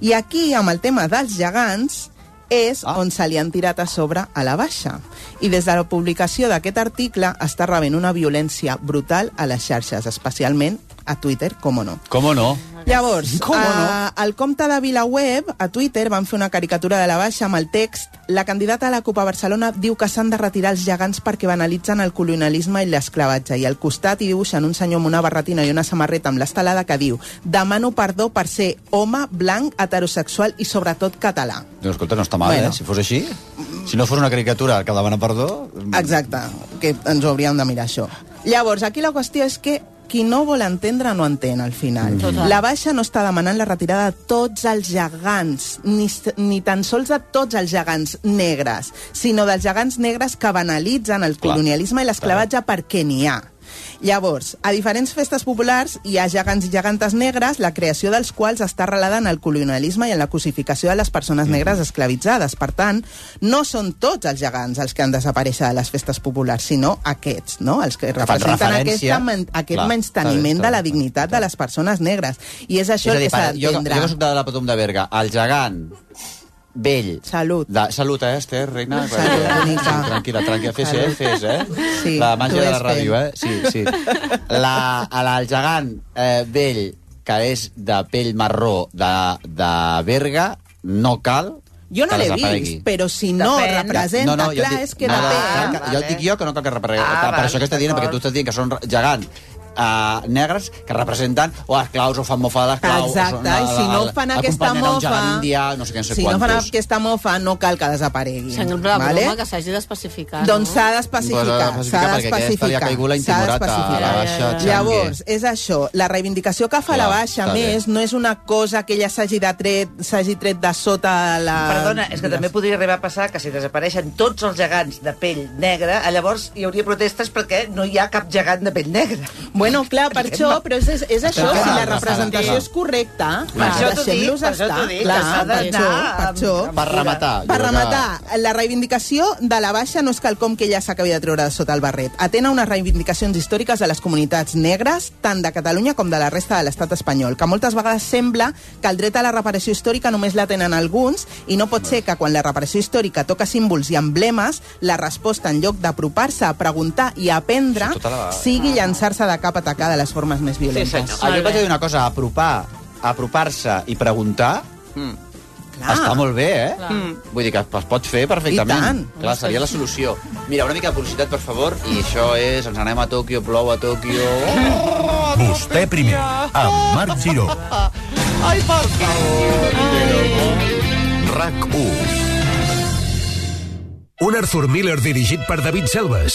I aquí, amb el tema dels gegants, és ah. on se li han tirat a sobre a la baixa. I des de la publicació d'aquest article està rebent una violència brutal a les xarxes, especialment a Twitter, com no. Com no? Llavors, Com no? a, al compte de VilaWeb, a Twitter, van fer una caricatura de la baixa amb el text la candidata a la Copa Barcelona diu que s'han de retirar els gegants perquè banalitzen el colonialisme i l'esclavatge. I al costat hi dibuixen un senyor amb una barretina i una samarreta amb l'estelada que diu demano perdó per ser home, blanc, heterosexual i sobretot català. Doncs escolta, no està mal, Bueno. eh? Si fos així, si no fos una caricatura que demana perdó... Exacte, que ens ho hauríem de mirar això. Llavors, aquí la qüestió és que qui no vol entendre no entén al Mm. final. Total. La Baixa no està demanant la retirada de tots els gegants, ni, s- ni tan sols de tots els gegants negres, sinó dels gegants negres que banalitzen el Clar. colonialisme i l'esclavatge perquè n'hi ha. Llavors, a diferents festes populars hi ha gegants i gegantes negres, la creació dels quals està arrelada en el colonialisme i en la cosificació de les Mm. persones negres esclavitzades. Per tant, no són tots els gegants els que han desapareixer de les festes populars, sinó aquests, no? els que fan representen referència. aquesta, men- aquest Clar, Clar, està bé, menysteniment està de bé, la dignitat de les persones negres. I és això és a dir, el que s'ha per- jo, jo d'entendre. que soc de la Patum de Berga, el gegant, vell... Salut. De, salut, eh, Esther, reina? eh, Salut, bonica. Tranquil·la, tranquil·la, fes, eh, Salut. fes, eh? Sí, la màgia tu de la és ràdio, vell. eh? Sí, sí. La, a la, el gegant eh, vell, que és de pell marró de, de Berga, no cal Jo no que l'he desaparegui. vist, però si no Depèn. representa, No, no, jo clar, dic- és que no, no, depèn. clar que- jo et dic jo que no cal que representi. Ah, per val, això que estàs dient, perquè tu estàs dient que són re- gegants uh, negres que representen o esclaus o fan mofa de l'esclau. Exacte, i si no fan aquesta Un gegant mofa- indià, no sé què, no sé Si no quantos. fan aquesta mofa, no cal que desaparegui. Sembla vale? vale? broma que s'hagi d'especificar. Doncs no? s'ha d'especificar, Doncs s'ha s'ha d'especificar, perquè aquesta d'especificar. li ha caigut la s'ha intimorata, d'especificar. la baixa Ja, ja, ja. Llavors, és això, la reivindicació que fa Clar, la baixa, està a bé. més, no és una cosa que ella s'hagi de tret, s'hagi tret de sota la... Ah, Perdona, és que també podria arribar a passar que si desapareixen tots els gegants de pell negra, llavors hi hauria protestes perquè no hi ha cap gegant de pell negra. Bueno, clar, per això, però és, és, és això, si la clar, representació clar. és correcta, Per això t'ho dic, deixem-los per això estar. t'ho dic, Clar, que s'ha per d'anar això, per això. Per amb- rematar, jo Per crec que- rematar, la reivindicació de la baixa no és quelcom que ella s'acabi de treure de sota el barret. Atén a unes reivindicacions històriques de les comunitats negres, tant de Catalunya com de la resta de l'estat espanyol, que moltes vegades sembla que el dret a la reparació històrica només la tenen alguns i no pot ser que quan la reparació històrica toca símbols i emblemes, la resposta en lloc d'apropar-se a preguntar i a aprendre Sí, tota la- sigui llançar-se de cap a atacar de les formes més violentes. Ah, jo et vaig dir una cosa, apropar apropar-se i preguntar mm. Clar. Està molt bé, eh? Clar. Mm. Vull dir que es pot fer perfectament. I tant. Clar, seria la solució. Mira, una mica de publicitat, per favor, i això és... Ens anem a Tòquio, plou a Tòquio... Vostè primer, amb Marc Giró. Ai, per favor! RAC 1. Un Arthur Miller dirigit per David Selves.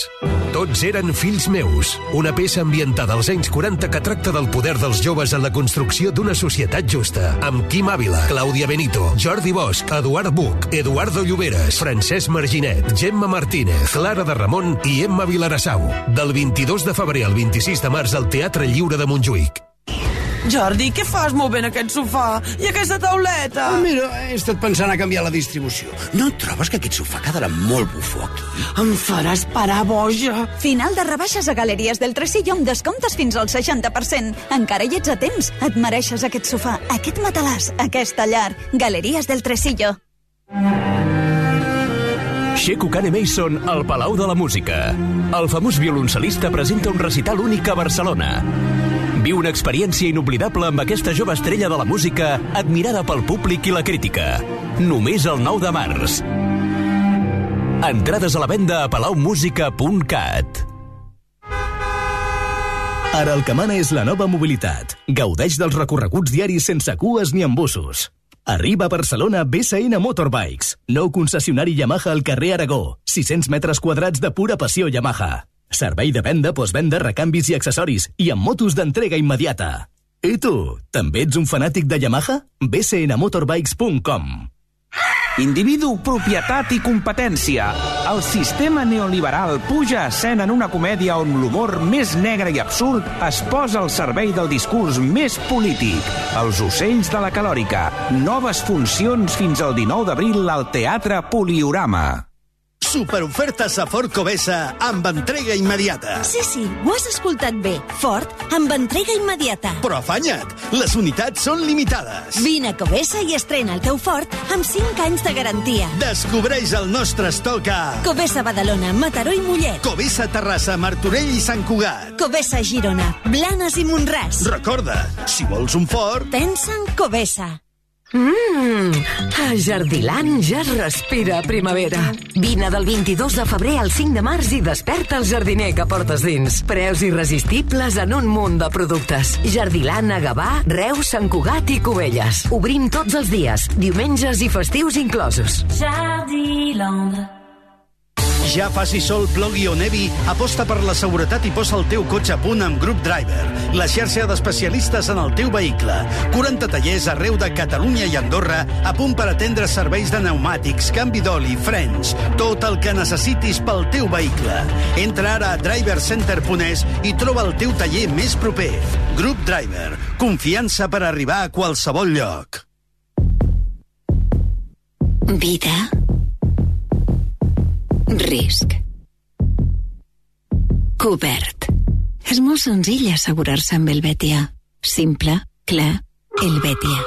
Tots eren fills meus. Una peça ambientada als anys 40 que tracta del poder dels joves en la construcció d'una societat justa. Amb Quim Ávila, Clàudia Benito, Jordi Bosch, Eduard Buch, Eduardo Lloberes, Francesc Marginet, Gemma Martínez, Clara de Ramon i Emma Vilarassau. Del 22 de febrer al 26 de març al Teatre Lliure de Montjuïc. Jordi, què fas movent aquest sofà i aquesta tauleta? Ah, mira, he estat pensant a canviar la distribució. No trobes que aquest sofà quedarà molt bufó aquí? Em faràs parar boja. Final de rebaixes a Galeries del Tresillo amb descomptes fins al 60%. Encara hi ets a temps. Et mereixes aquest sofà, aquest matalàs, aquesta llar. Galeries del Tresillo. Xeco Cane Mason al Palau de la Música. El famós violoncel·lista presenta un recital únic a Barcelona. Viu una experiència inoblidable amb aquesta jove estrella de la música admirada pel públic i la crítica. Només el 9 de març. Entrades a la venda a palaumusica.cat. Ara el que mana és la nova mobilitat. Gaudeix dels recorreguts diaris sense cues ni embussos. Arriba a Barcelona BSN Motorbikes. Nou concessionari Yamaha al carrer Aragó. 600 metres quadrats de pura passió Yamaha. Servei de venda, postvenda, recanvis i accessoris i amb motos d'entrega immediata. I tu, també ets un fanàtic de Yamaha? bsnmotorbikes.com Individu, propietat i competència. El sistema neoliberal puja a escena en una comèdia on l'humor més negre i absurd es posa al servei del discurs més polític. Els ocells de la calòrica. Noves funcions fins al 19 d'abril al Teatre Poliorama. Superofertes a Ford Covesa amb entrega immediata. Sí, sí, ho has escoltat bé. Ford, amb entrega immediata. Però afanya't, les unitats són limitades. Vine a Covesa i estrena el teu Ford amb 5 anys de garantia. Descobreix el nostre estoc a Covesa Badalona, Mataró i Mollet. Covesa Terrassa, Martorell i Sant Cugat. Covesa Girona, Blanes i Montràs. Recorda, si vols un Ford... Pensa en Covesa. Mmm, a Jardiland ja es respira primavera. Vine del 22 de febrer al 5 de març i desperta el jardiner que portes dins. Preus irresistibles en un munt de productes. Jardiland a Gavà, Reus, Sant Cugat i Cubelles. Obrim tots els dies, diumenges i festius inclosos. Jardiland. Ja faci sol, plogui o nevi, aposta per la seguretat i posa el teu cotxe a punt amb Group Driver, la xarxa d'especialistes en el teu vehicle. 40 tallers arreu de Catalunya i Andorra a punt per atendre serveis de pneumàtics, canvi d'oli, frens, tot el que necessitis pel teu vehicle. Entra ara a drivercenter.es i troba el teu taller més proper. Group Driver, confiança per arribar a qualsevol lloc. Vida. Risc. Cobert. És molt senzill assegurar-se amb el Betia. Simple, clar, el Betia.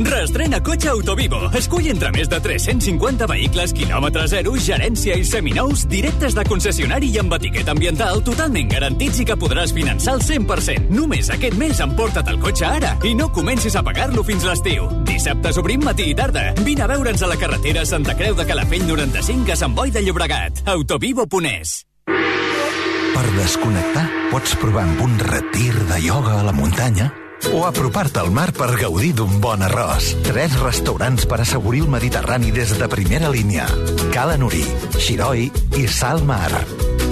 Restrena cotxe Autovivo. Escull entre més de 350 vehicles, quilòmetre zero, gerència i seminous, directes de concessionari i amb etiqueta ambiental totalment garantits i que podràs finançar el 100%. Només aquest mes emporta't el cotxe ara i no comencis a pagar-lo fins l'estiu. Dissabtes obrim matí i tarda. Vine a veure'ns a la carretera Santa Creu de Calafell 95 a Sant Boi de Llobregat. Autovivo.es Per desconnectar, pots provar amb un retir de ioga a la muntanya o apropar-te al mar per gaudir d'un bon arròs. Tres restaurants per assegurir el Mediterrani des de primera línia. Cala Nuri, Xiroi i Salmar.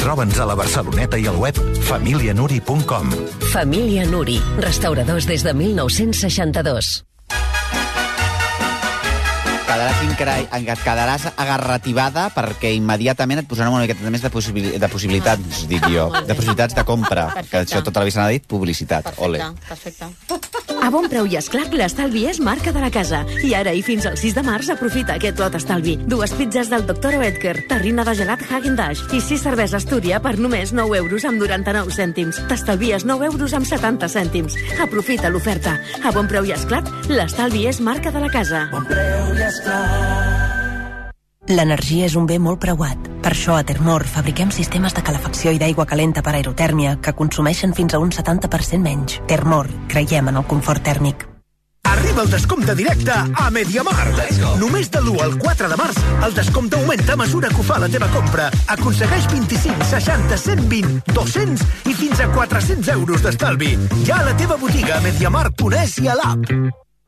Troba'ns a la Barceloneta i al web familianuri.com. Família Nuri, restauradors des de 1962. Quedaràs, incrai, enga- quedaràs agarrativada perquè immediatament et posaran una miqueta més de, possibil, de possibilitats, dic jo, de possibilitats de compra, que això tota la vida se n'ha dit publicitat. Ole. Perfecte. A bon preu i esclac, l'estalvi és marca de la casa. I ara i fins al 6 de març aprofita aquest lot estalvi. Dues pizzas del Dr. Oetker, terrina de gelat Hagen Dash i sis cerveses Astúria per només 9 euros amb 99 cèntims. T'estalvies 9 euros amb 70 cèntims. Aprofita l'oferta. A bon preu i esclac, l'estalvi és marca de la casa. Bon preu i esclac. L'energia és un bé molt preuat. Per això, a Termor fabriquem sistemes de calefacció i d'aigua calenta per aerotèrmia que consumeixen fins a un 70% menys. Termor, creiem en el confort tèrmic. Arriba el descompte directe a Mediamart. Només de l'1 al 4 de març, el descompte augmenta a mesura que ho fa la teva compra. Aconsegueix 25, 60, 120, 200 i fins a 400 euros d'estalvi. Ja a la teva botiga a Mediamart.es i a l'app.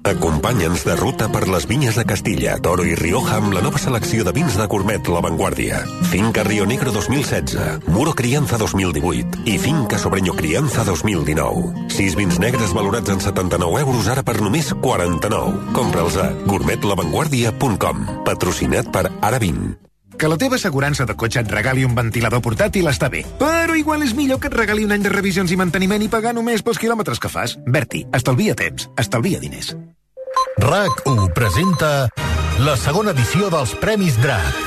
Acompanya'ns de ruta per les vinyes de Castilla, Toro i Rioja amb la nova selecció de vins de Gourmet La Vanguardia. Finca Rio Negro 2016, Muro Crianza 2018 i Finca Sobreño Crianza 2019. Sis vins negres valorats en 79 euros ara per només 49. Compra'ls a gourmetlavanguardia.com. Patrocinat per Aravin. Que la teva assegurança de cotxe et regali un ventilador portàtil està bé, però igual és millor que et regali un any de revisions i manteniment i pagar només pels quilòmetres que fas. Berti, estalvia temps, estalvia diners. RAC1 presenta la segona edició dels Premis DRAC.